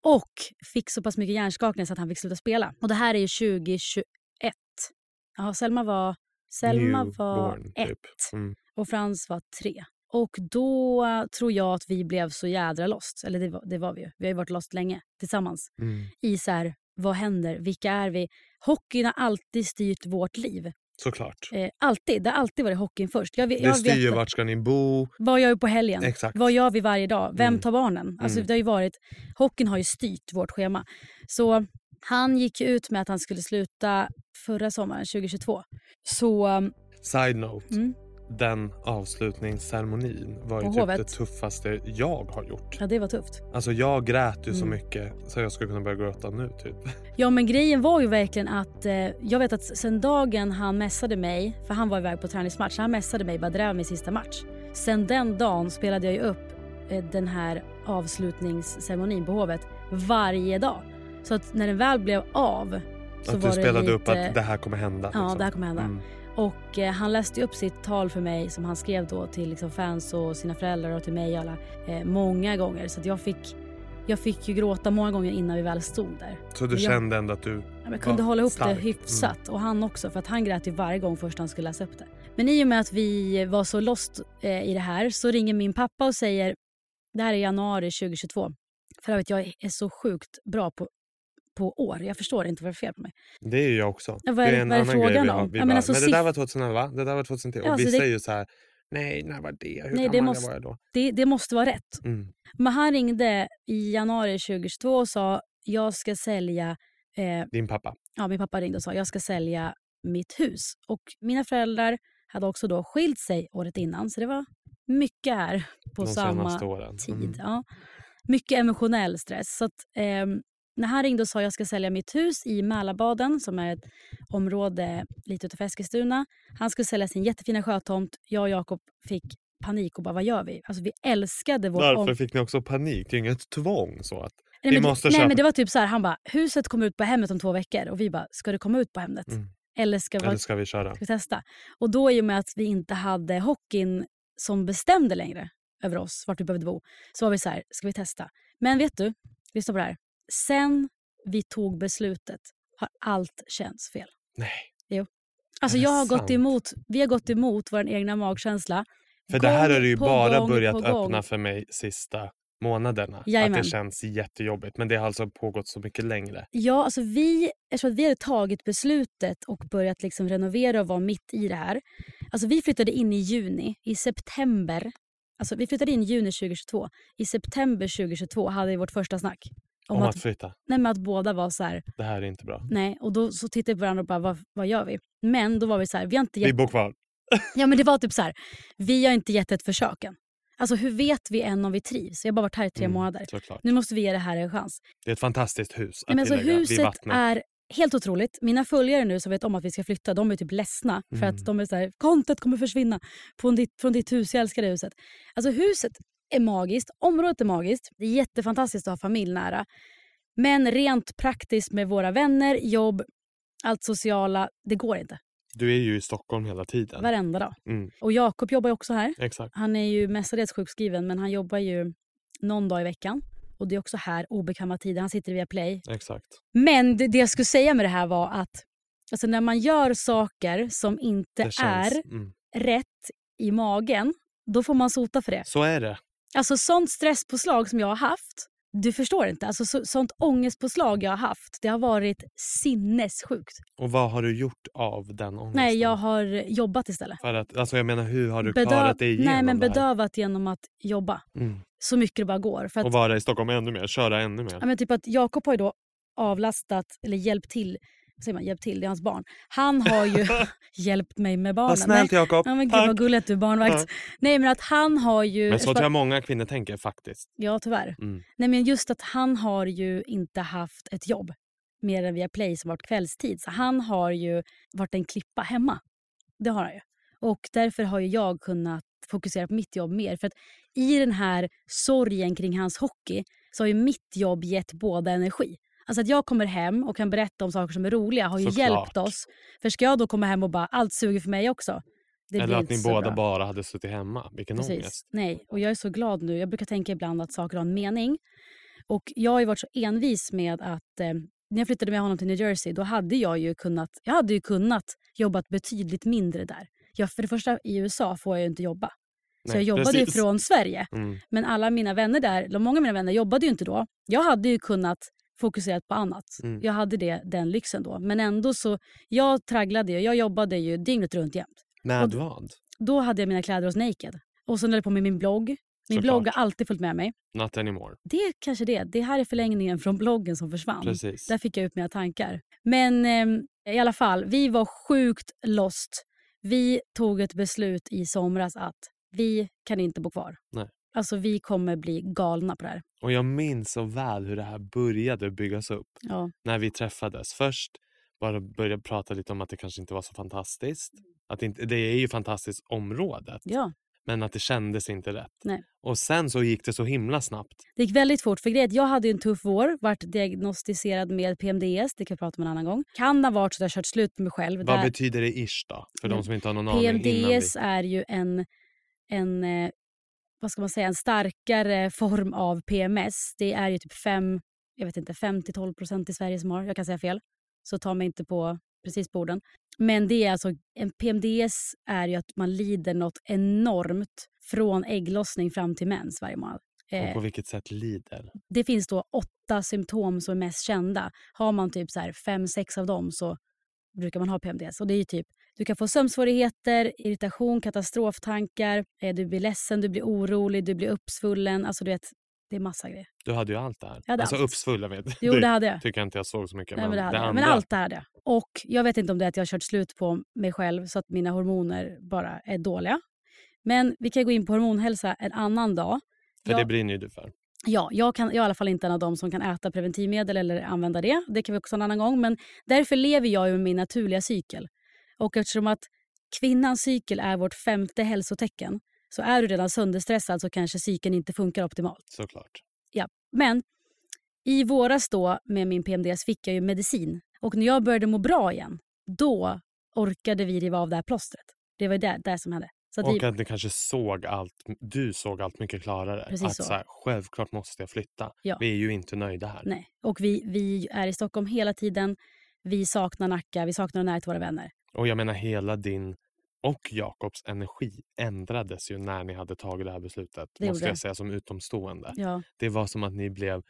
A: Och fick så pass mycket hjärnskakning så att han fick sluta spela. Och det här är ju 2021. Ja, Selma var, (laughs) Selma var
B: Newborn,
A: ett.
B: typ. Mm.
A: och Frans var tre. Och då tror jag att vi blev så jädra lost. Eller det var, det var vi ju. Vi har ju varit lost länge tillsammans.
B: Mm.
A: I så här, vad händer? Vilka är vi? Hockeyn har alltid styrt vårt liv.
B: Såklart.
A: Eh, alltid. Det har alltid varit hockeyn först. Jag, vet-
B: Det
A: jag
B: styr ju
A: vet,
B: vart ska ni bo.
A: vad gör vi på helgen?
B: Exakt.
A: Vad gör vi varje dag? Vem
B: Mm.
A: tar barnen? Alltså,
B: Mm.
A: det har ju varit, hockeyn har ju styrt vårt schema. Så han gick ju ut med att han skulle sluta förra sommaren, 2022. Så um,
B: Side note.
A: Mm.
B: Den avslutningsceremonin var ju
A: På
B: typ
A: Hovet.
B: det tuffaste jag har gjort.
A: ja, det var tufft.
B: Alltså jag grät ju så
A: Mm.
B: mycket så jag skulle kunna börja gråta nu typ.
A: Ja, men grejen var ju verkligen att eh, jag vet att sen dagen han mässade mig, för han var iväg på träningsmatch, så han mässade mig Badrev min sista match. Sen den dagen spelade jag ju upp eh, den här avslutningsceremonin på Hovet varje dag. Så att när den väl blev av så
B: att
A: var
B: du
A: det
B: spelade
A: lite...
B: upp att det här kommer hända.
A: Ja, det här kommer hända.
B: Mm.
A: Och eh, han läste ju upp sitt tal för mig som han skrev då till liksom, fans och sina föräldrar och till mig och alla eh, många gånger. Så att jag fick, jag fick ju gråta många gånger innan vi väl stod där.
B: Så du
A: Ja.
B: kände ändå att du...
A: Ja, men Jag kunde
B: Ja,
A: hålla ihop
B: stark.
A: det hyfsat och han också för att han grät ju varje gång först han skulle läsa upp det. Men i och med att vi var så lost eh, i det här så ringer min pappa och säger det här är januari 2022. För övrigt, jag är så sjukt bra på, på år. Jag förstår inte vad det är fel på mig.
B: Det är ju jag också.
A: Ja, vad är-
B: det är en
A: vad är
B: annan
A: frågan
B: grej vi
A: om?
B: har. Vi
A: Ja, men
B: bara, men,
A: alltså
B: det där
A: siff-
B: var 2011, det där var 2010.
A: Ja,
B: och
A: alltså
B: vissa
A: det-
B: är ju så här, nej när var det? Hur
A: Nej,
B: gammal
A: det
B: jag
A: måste-
B: var jag då?
A: Det, det måste vara rätt.
B: Mm.
A: Men han ringde i januari 2022 och sa jag ska sälja eh,
B: Din pappa.
A: ja, min pappa ringde och sa jag ska sälja mitt hus. Och mina föräldrar hade också då skilt sig året innan så det var mycket här på
B: de
A: samma
B: senaste åren. Mm.
A: tid. Ja. Mycket emotionell stress. Så att, ehm, När han ringde och sa att jag ska sälja mitt hus i Mälarbaden som är ett område lite utanför Eskilstuna. Han skulle sälja sin jättefina sjötomt. Jag och Jakob fick panik och bara vad gör vi? Alltså vi älskade vårt om-
B: Varför fick ni också panik? Det är inget tvång så att...
A: Nej,
B: Vi
A: men, det-
B: måste
A: nej
B: köpa-
A: men det var typ så här, han bara huset kommer ut på Hemnet om två veckor och vi bara ska det komma ut på Hemnet?
B: Mm.
A: Eller ska vi,
B: Eller ska vi köra?
A: ska vi testa? Och då i och med att vi inte hade hockeyn som bestämde längre över oss vart vi behövde bo så var vi så här, ska vi testa? Men vet du, lyssna på det här. Sen vi tog beslutet har allt känts fel.
B: Nej.
A: Alltså
B: Är det
A: jag har gått
B: sant?
A: emot, vi har gått emot vår egna magkänsla.
B: För det här
A: Gång
B: har du ju
A: på
B: bara
A: gång
B: börjat
A: på gång.
B: öppna för mig sista månaderna.
A: Jajamän.
B: Att det känns jättejobbigt. Men det har alltså pågått så mycket längre.
A: Ja, alltså vi, eftersom att vi hade tagit beslutet och börjat liksom renovera och vara mitt i det här. Alltså vi flyttade in i juni. I september, alltså vi flyttade in i juni 2022. I september 2022 hade vi vårt första snack. Om,
B: Om, att,
A: att,
B: flytta.
A: nej, men att båda var så här,
B: Det här är inte bra.
A: nej. Och då så tittade vi på varandra och bara, vad, vad gör vi? Men då var vi så här, vi har inte
B: Vi
A: gett,
B: bor kvar.
A: ja men det var typ så här, vi har inte gett ett försök än. Alltså hur vet vi än om vi trivs? Jag har bara varit här i tre
B: Mm,
A: månader.
B: Såklart.
A: Nu måste vi ge det här en chans.
B: Det är ett fantastiskt hus
A: Nej,
B: att
A: men alltså,
B: tillägga, vid
A: huset
B: vattnet.
A: är helt otroligt. Mina följare nu som vet om att vi ska flytta, de är typ ledsna. För
B: Mm.
A: att de är så här, content kommer försvinna från ditt, från ditt hus. Jag älskar det huset. Alltså huset är magiskt, området är magiskt. Det är jättefantastiskt att ha familj nära. Men rent praktiskt med våra vänner, jobb, allt sociala, det går inte.
B: Du är ju i Stockholm hela tiden.
A: Varenda dag.
B: Mm.
A: Och Jakob jobbar ju också här.
B: Exakt.
A: Han är ju mestadels sjukskriven men han jobbar ju någon dag i veckan. Och det är också här, obekväma tider. Han sitter via play
B: Exakt.
A: men det, det jag skulle säga med det här var att alltså när man gör saker som inte
B: känns-
A: är
B: Mm.
A: rätt i magen, då får man sota för det.
B: Så är det.
A: Alltså sånt stresspåslag som jag har haft, du förstår inte. Alltså så, sånt ångestpåslag jag har haft, det har varit sinnessjukt.
B: Och vad har du gjort av den ångesten?
A: Nej, jag har jobbat istället.
B: För att, alltså jag menar hur har du
A: Bedö-
B: klarat dig igenom
A: Nej, men
B: det här?
A: bedövat genom att jobba
B: Mm.
A: så mycket det bara går. För att,
B: Och vara i Stockholm ännu mer, köra ännu mer.
A: Ja, men typ att Jakob har ju då avlastat, eller hjälpt till, vad säger man, hjälpt till, det är hans barn. Han har
B: (laughs)
A: ju hjälpt mig med barnen.
B: Vad snällt Jakob,
A: Ja, men gud
B: tack!
A: vad gulligt att du är barnvakt. Nej men att han har ju...
B: Men så
A: jag
B: tror
A: ska-
B: jag många kvinnor tänker faktiskt.
A: Ja tyvärr.
B: Mm.
A: Nej men just att han har ju inte haft ett jobb mer än via Play som varit kvällstid. Så han har ju varit en klippa hemma. Det har han ju. Och därför har ju jag kunnat fokusera på mitt jobb mer. För att i den här sorgen kring hans hockey så har ju mitt jobb gett båda energi. Alltså att jag kommer hem och kan berätta om saker som är roliga har ju
B: Såklart.
A: hjälpt oss. För ska jag då komma hem och bara allt suger för mig också. Det blir
B: Eller att
A: inte
B: ni
A: så
B: båda
A: bra.
B: bara hade suttit hemma. Vilken
A: Precis.
B: ångest.
A: Nej, och jag är så glad nu. Jag brukar tänka ibland att saker har en mening. Och jag har ju varit så envis med att eh, när jag flyttade med honom till New Jersey då hade jag ju kunnat, jag hade ju kunnat jobbat betydligt mindre där. Jag, för det första i USA får jag ju inte jobba. Så
B: Nej,
A: jag jobbade
B: precis.
A: ju från Sverige.
B: Mm.
A: Men alla mina vänner där, eller många av mina vänner jobbade ju inte då. Jag hade ju kunnat fokusera på annat.
B: Mm.
A: Jag hade det, den lyxen då. Men ändå så, jag tragglade ju. Jag jobbade ju dygnet runt jämt
B: När
A: Och-
B: vad?
A: då hade jag mina kläder hos Naked. Och sen höll jag på med min blogg. Min
B: Såklart.
A: blogg har alltid följt med mig.
B: Not anymore.
A: Det är kanske det. Det här är förlängningen från bloggen som försvann.
B: Precis.
A: Där fick jag ut mina tankar. Men ehm, i alla fall, vi var sjukt lost. Vi tog ett beslut i somras att vi kan inte bo kvar.
B: Nej.
A: Alltså vi kommer bli galna på det här.
B: Och jag minns så väl hur det här började byggas upp.
A: Ja.
B: När vi träffades. Först bara började prata lite om att det kanske inte var så fantastiskt.
A: Mm.
B: Att det inte, det är ju fantastiskt området.
A: ja.
B: Men att det kändes inte rätt.
A: Nej.
B: Och sen så gick det så himla snabbt.
A: Det gick väldigt fort. För grejen är att jag hade ju en tuff vår, varit diagnostiserad med PMDS. Det kan vi prata om en annan gång. Kan ha varit så att jag kört slut med mig själv.
B: Vad
A: där- Mm.
B: betyder det ish då? För
A: Men
B: de som inte har någon aning innan vi...
A: PMDS är ju en, en, eh, vad ska man säga, en starkare form av PMS. Det är ju typ fem, jag vet inte, 5-12 procent i Sverige som har. Jag kan säga fel, så ta mig inte på precis på orden. Men det är alltså, en PMDS är ju att man lider något enormt från ägglossning fram till mens varje månad.
B: Och
A: Eh,
B: på vilket sätt lider.
A: det finns då åtta symptom som är mest kända. Har man typ så här fem, sex av dem så brukar man ha PMDS. Och det är ju typ, du kan få sömnsvårigheter, irritation, katastroftankar, eh, du blir ledsen, du blir orolig, du blir uppsvullen. Alltså du vet, det är massa gregrejer.
B: Du hade ju allt det här.
A: Jag hade
B: alltså
A: allt.
B: uppsvull, jag vet.
A: Jo,
B: det
A: det hade jag.
B: tycker jag inte jag såg så mycket.
A: Nej, men, det hade
B: det
A: jag.
B: andra,
A: men allt det här hade jag. Och jag vet inte om det är att jag har kört slut på mig själv så att mina hormoner bara är dåliga. Men vi kan gå in på hormonhälsa en annan dag.
B: för
A: Jag-
B: det brinner ju du för.
A: Ja, jag, kan, jag är i alla fall inte en av dem som kan äta preventivmedel eller använda det. Det kan vi också en annan gång. Men därför lever jag ju med min naturliga cykel. Och eftersom att kvinnans cykel är vårt femte hälsotecken så är du redan sönderstressad så kanske cykeln inte funkar optimalt.
B: såklart.
A: Ja. Men i våras då med min PMDS fick jag ju medicin. Och när jag började må bra igen, då orkade vi riva av det här plåstret. Det var ju det, det som hände. Så att vi,
B: Och att ni kanske såg allt, du såg allt mycket klarare.
A: Precis
B: att
A: så.
B: så. här, självklart måste jag flytta.
A: Ja.
B: Vi är ju inte nöjda här.
A: nej. och vi, vi är i Stockholm hela tiden. Vi saknar Nacka, vi saknar närhet till våra vänner.
B: Och jag menar hela din och Jakobs energi ändrades ju när ni hade tagit det här beslutet.
A: Det gjorde
B: måste
A: det.
B: jag säga som utomstående.
A: Ja.
B: Det var som att ni blev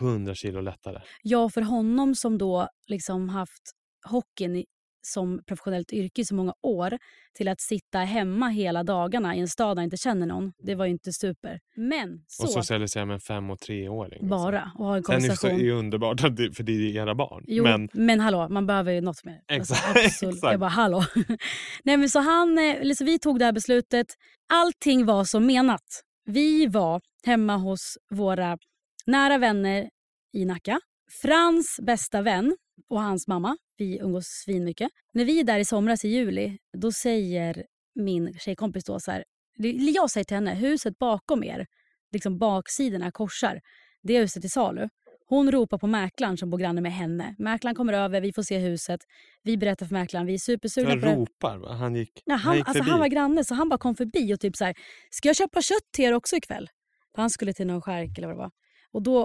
B: 100 kilo lättare.
A: Ja, för honom som då liksom haft hockeyn i- som professionellt yrke i så många år till att sitta hemma hela dagarna i en stad där han inte känner någon, det var ju inte super. Men så,
B: Och socialisera med en fem och treåring. Alltså.
A: bara alltså. och ha en
B: Sen är det så- är
A: konversation.
B: ju underbart att det, för det är ju era barn.
A: Jo, men...
B: Men
A: hallå, man behöver ju något mer. Alltså,
B: (laughs) Exakt,
A: absolut.
B: exakt.
A: Jag bara hallå. (laughs) Nej, men så han, eh, liksom, vi tog det här beslutet. Allting var som menat. Vi var hemma hos våra nära vänner i Nacka. Frans bästa vän och hans mamma, vi umgås svinmycket. När vi är där i somras i juli, då säger min tjejkompis då så här, det- eller jag säger till henne, huset bakom er, liksom baksidorna korsar, det är huset till salu. Hon ropar på mäklaren som bor granne med henne. Mäklaren kommer över, vi får se huset. Vi berättar för mäklaren, vi är supersugna
B: jag
A: på det.
B: ropar. va? Han gick,
A: Nej,
B: han
A: han,
B: gick
A: alltså,
B: förbi.
A: han var granne så han bara kom förbi och typ så här, ska jag köpa kött till er också ikväll? För han skulle till någon skärk eller vad det var. Och då,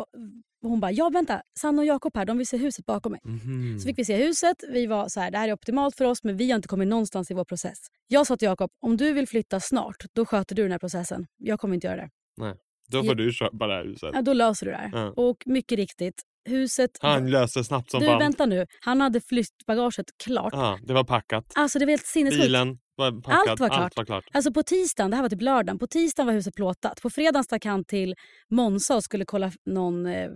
A: och hon bara, ja vänta, Sanna och Jakob här, de vill se huset bakom mig.
B: Mhm.
A: Så fick vi se huset, vi var så här, det här är optimalt för oss men vi har inte kommit någonstans i vår process. Jag sa till Jakob, om du vill flytta snart, då sköter du den här processen. Jag kommer inte göra det.
B: Då får du köpa det här huset.
A: Ja, då löser du det här.
B: Ja.
A: Och mycket riktigt, huset...
B: Han löste snabbt som
A: du,
B: fan.
A: vänta nu. Han hade flyttbagaget klart.
B: Ja, det var packat.
A: Alltså det var helt sinnessjukt.
B: Bilen var packad.
A: Allt var klart.
B: Allt var klart.
A: Alltså på tisdagen, det här var typ lördagen, på tisdagen var huset plåtat. På fredagen stack han till Monza och skulle kolla f- någon eh,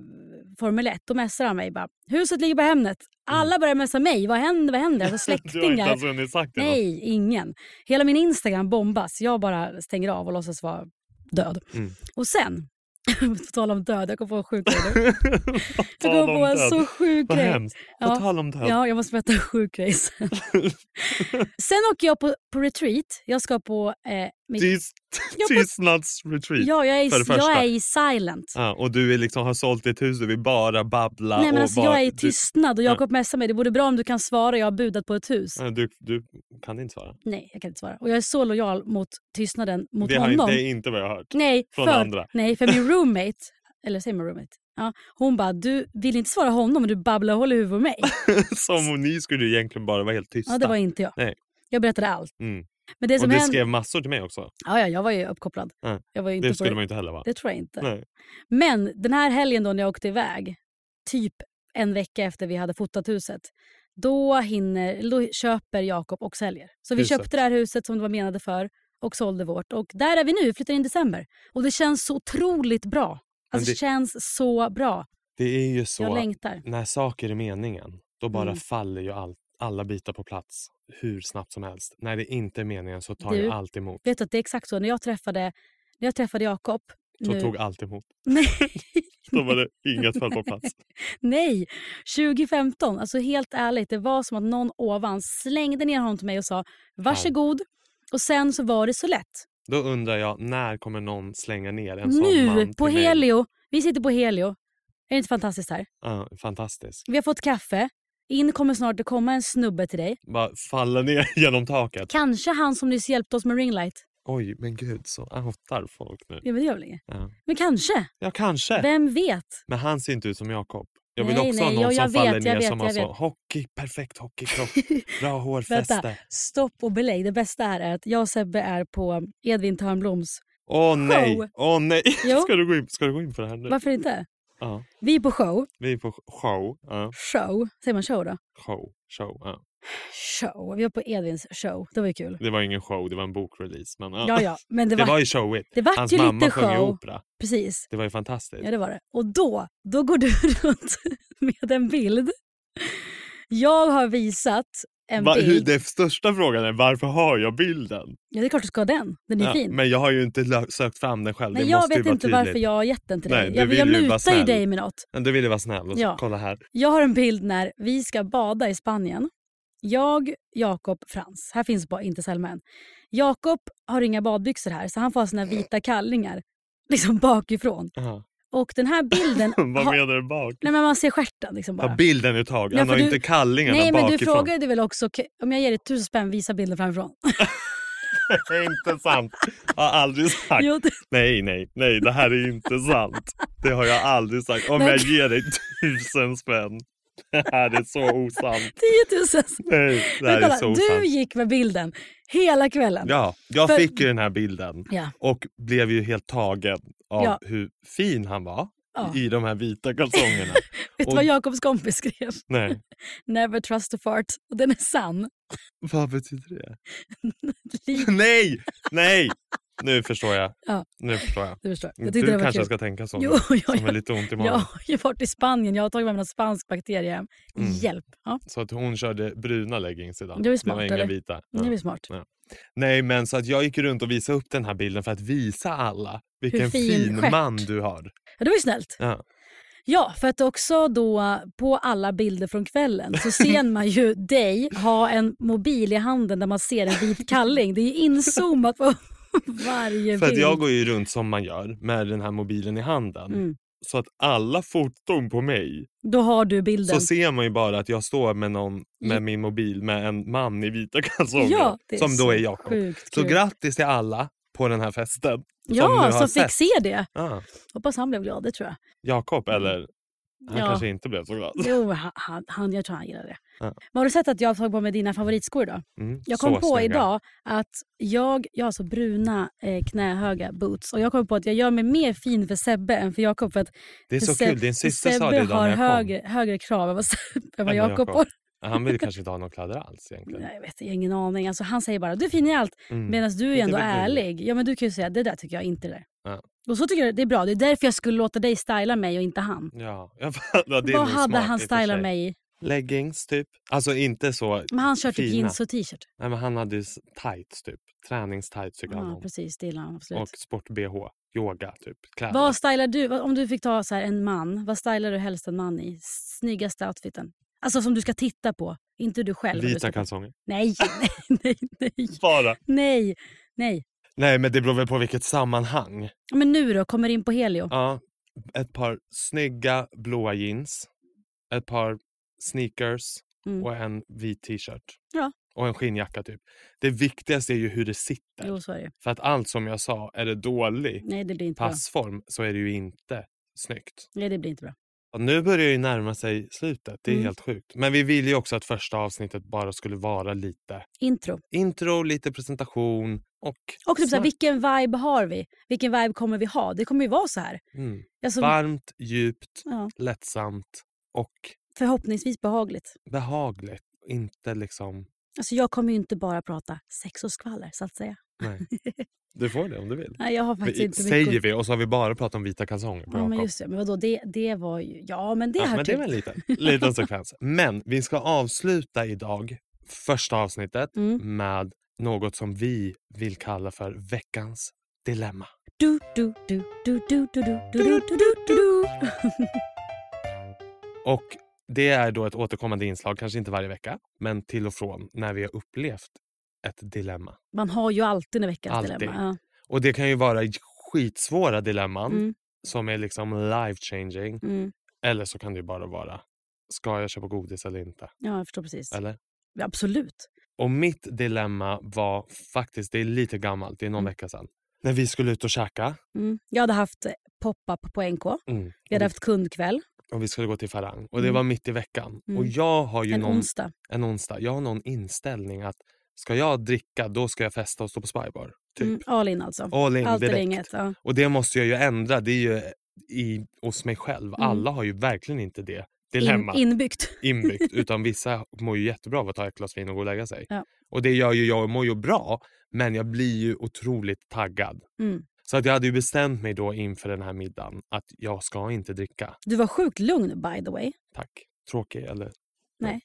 A: Formel 1. Då messade han mig bara, huset ligger på Hemnet. Alla börjar messa mig, vad händer, vad
B: (laughs)
A: händer? Alltså
B: Mm. Du har inte
A: släktingar.
B: ens hunnit sagt det. något.
A: Nej, ingen. Hela min Instagram bombas. Jag bara stänger av och låtsas vara död.
B: Mm.
A: Och sen, (laughs) på tal om död, jag kom på en sjuk grej
B: (laughs)
A: nu.
B: På
A: Jag kom
B: tal
A: på
B: om
A: en
B: död.
A: så sjuk
B: Vad
A: grej.
B: hemskt.
A: Ja.
B: På tal om död.
A: Ja, jag måste berätta en sjuk grej
B: (laughs)
A: sen. sen åker jag på, på retreat. Jag ska på... Eh, mitt-
B: Tyst,
A: Jag på-
B: tystnadsretreat.
A: ja, jag är, i,
B: för det första.
A: jag är i silent.
B: Ja, och du är liksom, har sålt ditt hus, du vill bara babbla.
A: Nej, men
B: Ah, och
A: alltså,
B: bara,
A: jag är i
B: du-
A: tystnad och Jakob messar mig. Det vore bra om du kan svara, jag har budat på ett hus.
B: Ja, Du, du kan inte svara.
A: Nej, jag kan inte svara. Och jag är så lojal mot tystnaden mot
B: det, har inte,
A: honom.
B: det är inte vad jag har hört.
A: Nej,
B: Från
A: för,
B: andra. (laughs)
A: Nej, för min roommate, eller säger man roommate? Ja, hon bara, du vill inte svara honom men du babblar och håller huvudet med mig.
B: Som om ni skulle egentligen bara vara helt tysta.
A: Ja, det var inte jag.
B: Nej.
A: Jag berättade allt.
B: Mm.
A: Men det
B: och
A: som
B: det
A: hände...
B: skrev massor till mig också.
A: Ja, ja, jag var ju uppkopplad.
B: Ja,
A: Jag var ju inte
B: Det
A: på
B: skulle man ju inte heller vara.
A: Det tror jag inte.
B: Nej.
A: Men den här helgen då när jag åkte iväg, typ en vecka efter vi hade fotat huset, då, hinner, då köper Jakob och säljer. Så vi
B: Huset.
A: köpte det här huset som det var menade för och sålde vårt. Och där är vi nu, flyttar in i december. Och det känns så otroligt bra.
B: Men
A: Alltså det
B: det-
A: känns så bra.
B: Det är ju
A: Jag
B: så,
A: längtar.
B: när saker är meningen, då bara
A: Mm.
B: faller ju all, alla bitar på plats hur snabbt som helst. När det inte är meningen så tar
A: Du-
B: ju allt emot.
A: Vet du att det är exakt så. När jag träffade, när jag träffade Jakob...
B: Så
A: nu-
B: tog allt emot.
A: (laughs) Nej,
B: Då var det inget föll på plats.
A: Nej, 2015. Alltså helt ärligt, det var som att någon ovan slängde ner honom till mig och sa varsågod. Och sen så var det så lätt.
B: Då undrar jag, när kommer någon slänga ner en sån man
A: Nu på
B: till mig?
A: Helio. Vi sitter på Helio. Är det inte fantastiskt här?
B: Ja, fantastisk.
A: Vi har fått kaffe. In kommer snart att komma en snubbe till dig.
B: Bara falla ner (laughs) genom taket.
A: Kanske han som nyss hjälpte oss med ringlight.
B: Oj, men gud så outar folk nu.
A: Ja, men det gör väl inget.
B: Ja,
A: Men kanske.
B: ja kanske.
A: Vem vet?
B: Men han ser inte ut som Jakob. Jag vill
A: Nej,
B: också ha
A: nej,
B: någon
A: ja, jag
B: som faller
A: vet, jag
B: ner
A: vet,
B: som har
A: jag
B: så
A: vet.
B: hockey,
A: (laughs)
B: perfekt hockeykropp, bra hårfäste.
A: Stopp och belägg. Det bästa här är att jag och Sebbe är på Edvin Törnbloms.
B: Åh nej,
A: Show.
B: åh nej.
A: Jo.
B: Ska du, gå in, ska du gå in på det här nu?
A: Varför inte?
B: Ja,
A: Vi är på show.
B: vi är på show. Ja,
A: Show. Säger man show då?
B: show, show. Ja.
A: show. Vi var på Edvins show. Det var ju kul.
B: Det var ingen show, det var en bokrelease. Men, ja.
A: Ja, ja. Men det
B: Det var
A: var,
B: ju showigt.
A: det var
B: Hans
A: ju
B: mamma
A: lite
B: sjöng ju
A: show.
B: opera.
A: Precis.
B: Det var ju fantastiskt.
A: Ja, det var det. Och då, (laughs) då går du runt med en bild. Jag har visat en
B: Va, hur,
A: bild.
B: den största frågan är varför har jag bilden?
A: Ja, det är klart du ska ha den. Den är
B: Ja,
A: fin.
B: men jag har ju inte lö- sökt fram den själv.
A: Men
B: det
A: jag
B: måste ju
A: vet
B: vara
A: inte
B: tydligt.
A: varför jag har gett den till
B: Nej,
A: dig.
B: du
A: Jag,
B: vill
A: jag
B: ju vara
A: mutar ju
B: snäll.
A: dig med något.
B: Men Du ville vara snäll och
A: Ja.
B: kolla här.
A: Jag har en bild när vi ska bada i Spanien. Jag, Jakob, Frans. Här finns bara inte Selma än. Jakob har inga badbyxor här, så han får ha sina vita kallingar liksom bakifrån.
B: Aha.
A: Och den här bilden...
B: (laughs) Vad
A: har-
B: menar du bak?
A: Nej, men man ser stjärten liksom bara.
B: Ja, bilden är tagen.
A: Ja,
B: Han
A: för
B: har
A: du-
B: inte kallingarna
A: Nej, men du
B: bakifrån.
A: frågade väl också k- om jag ger dig tusen spänn, visa bilden framifrån.
B: (laughs)
A: (laughs)
B: Det är inte sant. Jag har
A: (laughs)
B: aldrig sagt.
A: Jo, det-
B: Nej, nej, nej, det här är inte sant. Det har jag aldrig sagt. Om
A: Men-
B: jag ger dig tusen spänn. Det här är så osant.
A: 10 000.
B: Nej, (laughs) det
A: Men
B: här är
A: kolla,
B: så
A: du
B: osant.
A: gick med bilden hela kvällen.
B: Ja, jag
A: För-
B: fick ju den här bilden
A: Ja.
B: och blev ju helt tagen av
A: Ja.
B: hur fin han var
A: Ja.
B: i de här vita
A: (laughs)
B: kalsongerna.
A: Vet du
B: och-
A: vad Jakobs kompis skrev? (laughs)
B: nej,
A: Never trust a fart. Och den är sann. (laughs)
B: vad betyder det?
A: Lik-
B: Nej, nej! Nu förstår jag.
A: Ja.
B: Nu förstår jag.
A: Du förstår. Jag tyckte
B: Du
A: det var
B: kanske
A: kul.
B: ska tänka så.
A: Jo,
B: nu,
A: (laughs) ja,
B: Som är
A: ja.
B: lite ont i magen.
A: Jag har ju varit i Spanien. Jag har tagit med mig någon spansk bakterie hem.
B: Mm.
A: Hjälp. Ja,
B: Så att hon körde bruna leggings idag.
A: Det var ju
B: var
A: smart,
B: inga
A: eller?
B: vita.
A: det är väl smart.
B: Nej men så att jag gick runt och visade upp den här bilden för att visa alla vilken
A: fin
B: fin,
A: stjärt.
B: man du har.
A: Ja, det var ju snällt.
B: Ja.
A: Ja, för att också då på alla bilder från kvällen så ser man
B: (laughs)
A: ju dig ha en mobil i handen där man ser en vit kalling. Det är ju inzoomat
B: (laughs)
A: på varje
B: För att
A: bild.
B: jag går ju runt som man gör med den här mobilen i handen.
A: Mm.
B: Så att alla foton på mig
A: Då har du bilden.
B: så ser man ju bara att jag står med någon med
A: Ja.
B: min mobil med en man i vita (laughs) kalsonger
A: ja, det är
B: som
A: så
B: då är Jakob.
A: Sjukt
B: Så
A: kul.
B: grattis till alla på den här festen. nu
A: Ja,
B: har
A: som, fick
B: sett.
A: se det.
B: Ah,
A: Hoppas han blev glad, det tror jag.
B: Jakob eller? Han
A: Mm. Ja.
B: kanske inte blev så glad.
A: Jo, han- han, han, jag tror han gillade det.
B: Ja.
A: Men har du sett att jag har tagit på mig dina favoritskor idag?
B: Mm,
A: Jag
B: så
A: kom på
B: snygga.
A: idag att jag, jag har så bruna eh, knähöga boots och jag kom på att jag gör mig mer fin för Sebbe än för Jakob för att
B: Det är
A: för
B: så
A: Seb-
B: kul, din syster
A: Sebbe
B: sa det idag
A: har
B: när jag kom.
A: högre, högre krav än vad, (laughs) Sebbe, än vad
B: Än vad
A: Jakob
B: Jakob.
A: har.
B: Han vill kanske inte ha några kläder alls egentligen.
A: Nej, Jag vet, jag har ingen aning. Alltså, han säger bara du är fin i allt
B: Mm.
A: medan du är
B: Det är
A: ändå
B: väl gulligt.
A: ärlig. Ja, men du kan ju säga det där tycker jag inte det där.
B: Ja.
A: Och så tycker jag det är bra. Det är därför jag skulle låta dig styla mig och inte han.
B: Ja, (laughs) jag fattar. Det är
A: vad
B: nog
A: hade
B: smart
A: han
B: i och för
A: stylat
B: sig.
A: mig i?
B: Leggings typ. Alltså inte så.
A: Men han kör typ
B: Fina.
A: jeans och t-shirt.
B: Nej, men han hade ju s- tights typ. Träningstights tycker han
A: Ja,
B: om.
A: precis. Det gillar han absolut.
B: Och sport-bh. Yoga typ. Kläder.
A: Vad stylar du, vad- om du fick ta så här en man, vad stylar du helst en man i? Snyggaste outfiten. Alltså som du ska titta på, inte du själv. när du
B: Vita
A: ska-
B: kalsonger.
A: Nej, (laughs) nej, nej, nej,
B: Bara.
A: nej, nej.
B: Nej men det beror väl på vilket sammanhang.
A: Men nu då, kommer in på Helio.
B: Ja. Ett par snygga blåa jeans. Ett par sneakers.
A: Mm.
B: Och en vit t-shirt.
A: Ja.
B: Och en skinnjacka typ. Det viktigaste är ju hur det sitter.
A: Jo, så är det.
B: För att allt som jag sa, är det dålig
A: Nej, det blir inte bra.
B: passform så är det ju inte snyggt.
A: Nej, det blir inte bra.
B: Och nu börjar ju närma sig slutet. Det är
A: Mm.
B: helt sjukt. Men vi ville ju också att första avsnittet bara skulle vara lite
A: Intro.
B: intro, lite presentation och...
A: Och typ så här,
B: snack.
A: vilken vibe har vi? Vilken vibe kommer vi ha? Det kommer ju vara så här.
B: Mm.
A: Alltså,
B: Varmt, djupt,
A: ja,
B: lättsamt och
A: förhoppningsvis behagligt.
B: behagligt. Inte liksom...
A: Alltså, jag kommer ju inte bara prata sex och skvaller, så att säga. (laughs)
B: Nej. Du får det om du vill.
A: Nej, jag har faktiskt
B: Vi,
A: inte mycket
B: säger vi och så har vi bara pratat om vita kalsonger på
A: Ja, men
B: Jakob.
A: just det. Men vadå, det, det var ju... Ja, men det typ.
B: Ja,
A: hör
B: men det
A: till.
B: är väl en liten, liten sekvens. Men vi ska avsluta idag, första avsnittet,
A: Mm.
B: med något som vi vill kalla för veckans dilemma.
A: Du, du, du, du, du, du, du, du, du, du, du, du.
B: Och det är då ett återkommande inslag, kanske inte varje vecka, men till och från när vi har upplevt ett dilemma.
A: Man har ju alltid en veckans
B: Alltid.
A: dilemma. Ja.
B: Och det kan ju vara skitsvåra dilemman
A: Mm,
B: som är liksom life changing.
A: mm.
B: Eller så kan det ju bara vara, ska jag köpa godis eller inte?
A: ja, jag förstår precis.
B: Eller?
A: Ja, Absolut.
B: Och mitt dilemma var faktiskt, det är lite gammalt, det är någon
A: Mm.
B: vecka sedan. När vi skulle ut och käka
A: Mm. Jag hade haft eh, pop-up på NK.
B: mm,
A: Vi
B: och,
A: hade
B: vi,
A: haft kundkväll
B: och vi skulle gå till Farang och det
A: Mm.
B: var mitt i veckan. Och
A: Mm.
B: jag har ju
A: en
B: någon,
A: onsdag.
B: en onsdag, jag har någon inställning att ska jag dricka då ska jag festa och stå på spybar. Typ.
A: Mm. All in alltså.
B: All in
A: Allt eller
B: direkt.
A: inget. Ja.
B: Och det måste jag ju ändra, det är ju i, hos mig själv. Alla har ju verkligen inte det
A: Mm. In,
B: dilemmat
A: inbyggt. (laughs)
B: inbyggt utan vissa mår ju jättebra av att ta ett glas vin och gå och lägga sig.
A: Ja.
B: Och det gör ju jag, jag mår ju bra men jag blir ju otroligt taggad.
A: Mm.
B: Så att jag hade ju bestämt mig då inför den här middagen att jag ska inte dricka. (laughs)
A: Du var sjukt lugn by the way.
B: Tack. Tråkig eller?
A: Nej.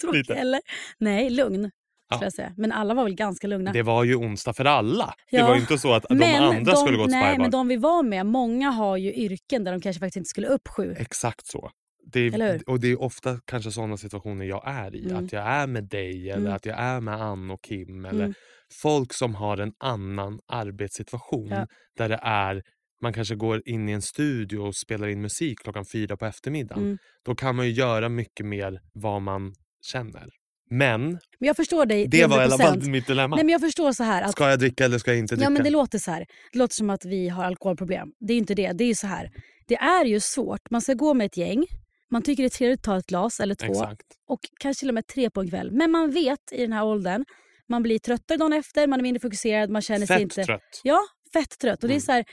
A: Tråkig,
B: Lite.
A: eller? Nej, lugn.
B: Ja.
A: Skulle jag säga. Men alla var väl ganska lugna.
B: Det var ju onsdag för alla. Det
A: Ja.
B: var ju inte så att de andra skulle gå till
A: Nej, men
B: spybar.
A: de vi var med, många har ju yrken där de kanske faktiskt inte skulle upp
B: Eh.
A: sju.
B: Exakt så. Det är,
A: Eller hur?
B: och det är ofta kanske sådana situationer jag är i.
A: Mm.
B: Att jag är med dig eller
A: Mm.
B: att jag är med Ann och Kim. Eller
A: Mm.
B: Folk som har en annan arbetssituation.
A: Ja.
B: Där det är, man kanske går in i en studio och spelar in musik klockan fyra på eftermiddagen.
A: Mm.
B: Då kan man ju göra mycket mer vad man känner. Men
A: Men jag förstår dig
B: det var i alla
A: 100%.
B: fall mitt dilemma.
A: Nej, men jag förstår så här. Att,
B: Ska jag dricka eller ska jag inte dricka?
A: ja, men det låter så här. Det låter som att vi har alkoholproblem. Det är ju inte det. Det är ju så här. Det är ju svårt. Man ska gå med ett gäng. Man tycker det är trevligt att ta ett glas eller två.
B: Exakt.
A: och kanske till och med tre på en kväll. Men man vet i den här åldern, man blir tröttare dagen efter, man är mindre fokuserad, man känner sig
B: Fett
A: inte...
B: trött.
A: Ja, fett trött. Och det är
B: Mm.
A: så här,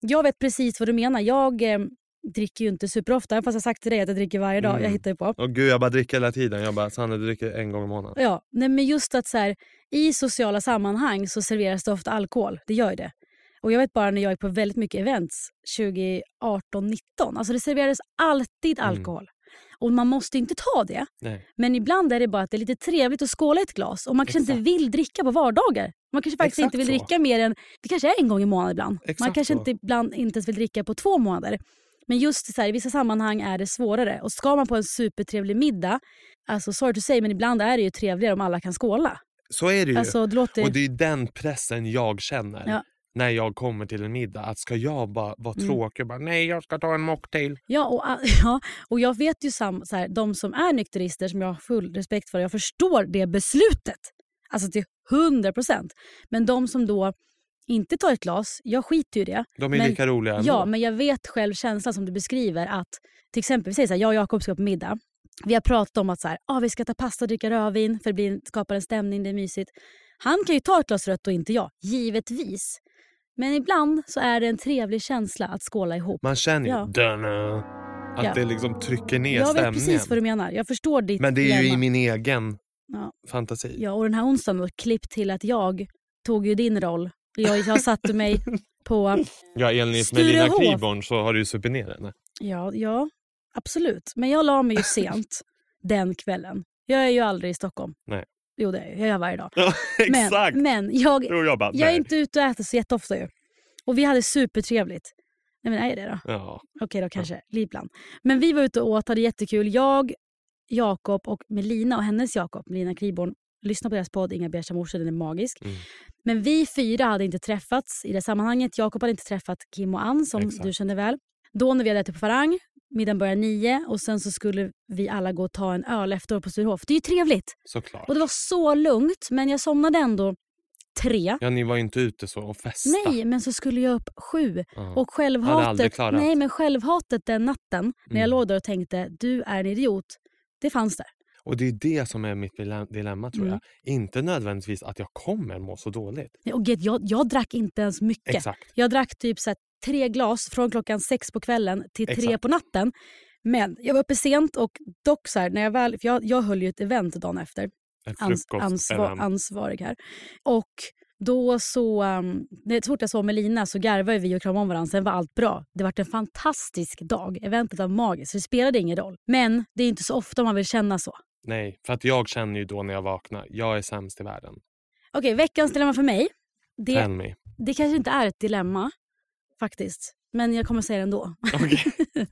A: jag vet precis vad du menar. Jag eh, dricker ju inte superofta, även fast jag sagt till dig att jag dricker varje dag.
B: Mm.
A: Jag hittar ju på.
B: Och gud, jag bara dricker hela tiden. Jag bara, Sanna du dricker en gång i månaden.
A: Ja, nej, men just att så här, i sociala sammanhang så serveras det ofta alkohol. Det gör ju det. Och jag vet bara när jag gick på väldigt mycket events 2018-19. Alltså det serverades alltid
B: Mm.
A: alkohol. Och man måste inte ta det.
B: Nej.
A: Men ibland är det bara att det är lite trevligt att skåla i ett glas och man kanske
B: Exakt.
A: inte vill dricka på vardagar. Man kanske faktiskt
B: Exakt
A: inte vill
B: så.
A: dricka mer än, det kanske är en gång i månaden ibland. man
B: Exakt
A: kanske
B: så.
A: inte ibland inte ens vill dricka på två månader. Men just så här, i vissa sammanhang är det svårare. Och ska man på en supertrevlig middag, alltså sorry to say, men ibland är det ju trevligare om alla kan skåla.
B: Så är det ju.
A: Alltså det låter...
B: Och det är ju den pressen jag känner
A: Ja.
B: när jag kommer till en middag. Att ska jag bara vara
A: Mm.
B: tråkig och bara nej jag ska ta en mocktail.
A: Ja, och, a- (laughs) ja, och jag vet ju sam, så här, de som är nykterister, som jag har full respekt för, jag förstår det beslutet. Alltså till 100 procent. Men de som då inte tar ett glas, jag skiter ju i det.
B: De är
A: Men-
B: lika roliga ändå.
A: Ja, men jag vet själv känslan som du beskriver att till exempel, vi säger så här, jag och Jakob ska på middag. Vi har pratat om att så här, ah, vi ska ta pasta och dricka rödvin för det blir, skapar en stämning, det är mysigt. Han kan ju ta ett glas rött och inte jag, givetvis. Men ibland så är det en trevlig känsla att skåla ihop.
B: Man känner ju
A: Ja.
B: "Dunna", att
A: Ja.
B: det liksom trycker ner
A: Jag vet
B: stämningen.
A: precis vad du menar. Jag förstår ditt
B: men det är ju
A: dilemma.
B: i min egen
A: Ja.
B: fantasi.
A: Ja, och den här onsdagen då, klipp till att jag tog ju din roll. Jag, jag satte
B: (laughs)
A: mig på...
B: Ja, enligt med dina
A: Sturehof.
B: kliborn så har du ju supit ner henne. (laughs)
A: Ja, ja, absolut. Men jag la mig ju sent den kvällen. Jag är ju aldrig i Stockholm.
B: Nej.
A: Jo, det är jag. Jag gör varje dag.
B: Ja, exakt!
A: Men, men jag,
B: Jo, jag bara,
A: jag är
B: nej.
A: inte ute och äter så jätteofta ju. Och vi hade supertrevligt. Nej, men är det då?
B: Ja.
A: Okej då kanske, ibland. Men vi var ute och åt, hade jättekul. Jag, Jakob och Melina och hennes Jakob, Melina Kriborn, lyssna på deras podd Inga beiga morsor, den är magisk.
B: Mm.
A: Men vi fyra hade inte träffats i det sammanhanget. Jakob hade inte träffat Kim och Ann som
B: Exakt.
A: du känner väl. Då när vi hade ätit på Farang, middagen började nio och sen så skulle vi alla gå och ta en öl efteråt på Sturehof. Det är ju trevligt.
B: Såklart.
A: Och det var så lugnt men jag somnade ändå tre.
B: Ja, ni var ju inte ute så och festa.
A: Nej, men så skulle jag upp sju.
B: Ja.
A: Och
B: Hade aldrig
A: självhatet,
B: klarat.
A: nej, men självhatet den natten när
B: Mm.
A: jag låg där och tänkte du är en idiot, det fanns där.
B: Och det är det som är mitt dile- dilemma tror
A: Mm.
B: jag. Inte nödvändigtvis att jag kommer må så dåligt.
A: Nej, Och gud, jag, jag drack inte ens mycket.
B: Exakt.
A: Jag drack typ så här, tre glas från klockan sex på kvällen till tre
B: Exakt.
A: på natten. Men jag var uppe sent och dock så här, när jag väl, för jag, jag höll ju ett event dagen efter.
B: En
A: ans, ansvar,
B: frukostevent.
A: ansvarig här. Och då så, um, det- så fort jag såg Melina så garvade vi och kramade om varandra. Sen var allt bra. Det var en fantastisk dag. Eventet var magiskt. så Det spelade ingen roll. Men det är inte så ofta man vill känna så.
B: Nej, för att jag känner ju då när jag vaknar, jag är sämst i världen.
A: Okej, veckans dilemma för mig.
B: Tell
A: Det, (laughs)
B: me.
A: det kanske inte är ett dilemma faktiskt. Men jag kommer säga det ändå. (laughs)
B: Okej,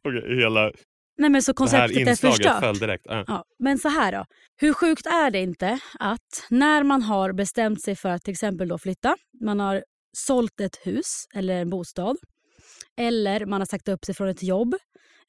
B: Okej, hela
A: Nej men så
B: det här
A: konceptet är
B: inslaget
A: förstört.
B: föll direkt. Ja.
A: Ja, men så här då. Hur sjukt är det inte att när man har bestämt sig för att till exempel då flytta, man har sålt ett hus eller en bostad, eller man har sagt upp sig från ett jobb,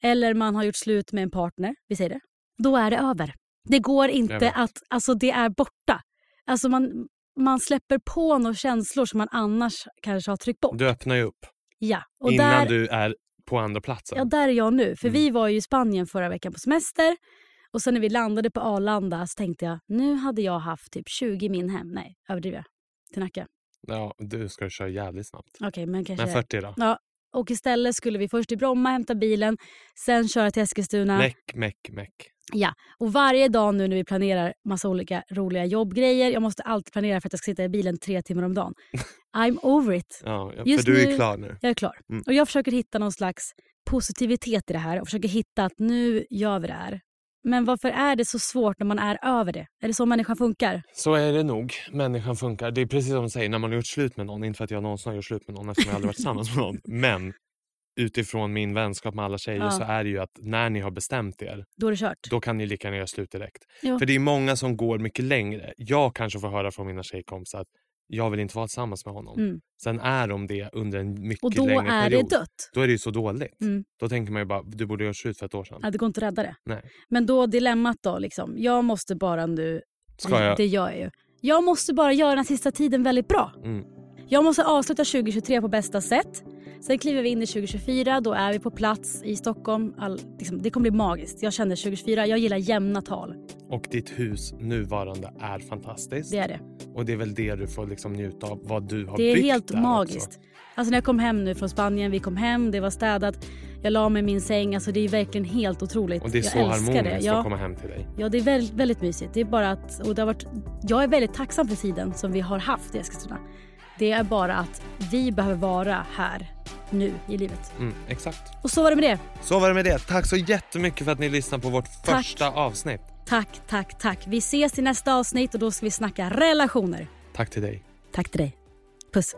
A: eller man har gjort slut med en partner, vi säger det, då är det över. Det går
B: Jag
A: inte
B: vet.
A: att, alltså det är borta. Alltså man, man släpper på några känslor som man annars kanske har tryckt bort.
B: Du öppnar ju upp
A: Ja, och
B: innan
A: där
B: du är på andra platsen.
A: Ja, där är jag nu. För
B: Mm.
A: vi var ju i Spanien förra veckan på semester. Och sen när vi landade på Arlanda så tänkte jag, nu hade jag haft typ 20 min hem. Nej, överdriver jag? Till Nacka.
B: Ja, du ska ju köra jävligt snabbt.
A: Okej, men kanske...
B: Men 40 då?
A: Och istället skulle vi först till Bromma hämta bilen, sen köra till Eskilstuna.
B: Meck, meck, meck.
A: Och varje dag nu när vi planerar massa olika roliga jobbgrejer, jag måste alltid planera för att jag ska sitta i bilen tre timmar om dagen. I'm over it.
B: Ja, ja, för
A: Just
B: du är
A: nu-
B: klar nu.
A: Jag är klar.
B: Mm.
A: Och jag försöker hitta någon slags positivitet i det här och försöker hitta att nu gör vi det här. Men varför är det så svårt när man är över det? Är det så människan funkar?
B: Så är det nog. Människan funkar. Det är precis som du säger, när man har gjort slut med någon. Inte för att jag någonsin har gjort slut med någon eftersom jag aldrig varit tillsammans
A: (laughs)
B: med någon. Men utifrån min vänskap med alla tjejer
A: Ja.
B: så är det ju att när ni har bestämt er,
A: Då är det kört.
B: då kan ni lika gärna göra slut direkt.
A: Ja.
B: För det är många som går mycket längre. Jag kanske får höra från mina tjejkompisar att jag vill inte vara tillsammans med honom.
A: Mm.
B: Sen är de det under en mycket
A: Och då
B: längre
A: är det
B: period.
A: dött.
B: Då är det ju så dåligt.
A: Mm.
B: Då tänker man ju bara, du borde göra slut för ett år sedan.
A: Ja, det går inte att rädda det.
B: Nej.
A: Men då dilemmat då, liksom. jag måste bara nu...
B: Ska jag?
A: Det gör jag ju. Jag måste bara göra den här sista tiden väldigt bra.
B: Mm.
A: Jag måste avsluta 2023 på bästa sätt. Sen kliver vi in i 2024, då är vi på plats i Stockholm. All, liksom, det kommer bli magiskt. Jag känner 2024, jag gillar jämna tal.
B: Och ditt hus nuvarande är fantastiskt.
A: Det är det.
B: Och det är väl det du får liksom njuta av, vad du har
A: Det är
B: byggt
A: helt
B: där också.
A: magiskt. Alltså när jag kom hem nu från Spanien, vi kom hem, det var städat. Jag la mig i min säng, alltså det är verkligen helt otroligt.
B: Och det är
A: jag
B: så
A: älskar det.
B: harmoniskt att
A: Ja,
B: komma hem till dig.
A: ja, det är väldigt, väldigt mysigt. Det är bara att, och det har varit, jag är väldigt tacksam för tiden som vi har haft i Eskilstuna. Det är bara att vi behöver vara här nu i livet.
B: Mm, exakt.
A: Och så var det med det.
B: Så var det med det. Tack så jättemycket för att ni lyssnade på vårt
A: Tack.
B: första avsnitt.
A: Tack, tack, tack. Vi ses i nästa avsnitt och då ska vi snacka relationer.
B: Tack till dig.
A: Tack till dig. Puss.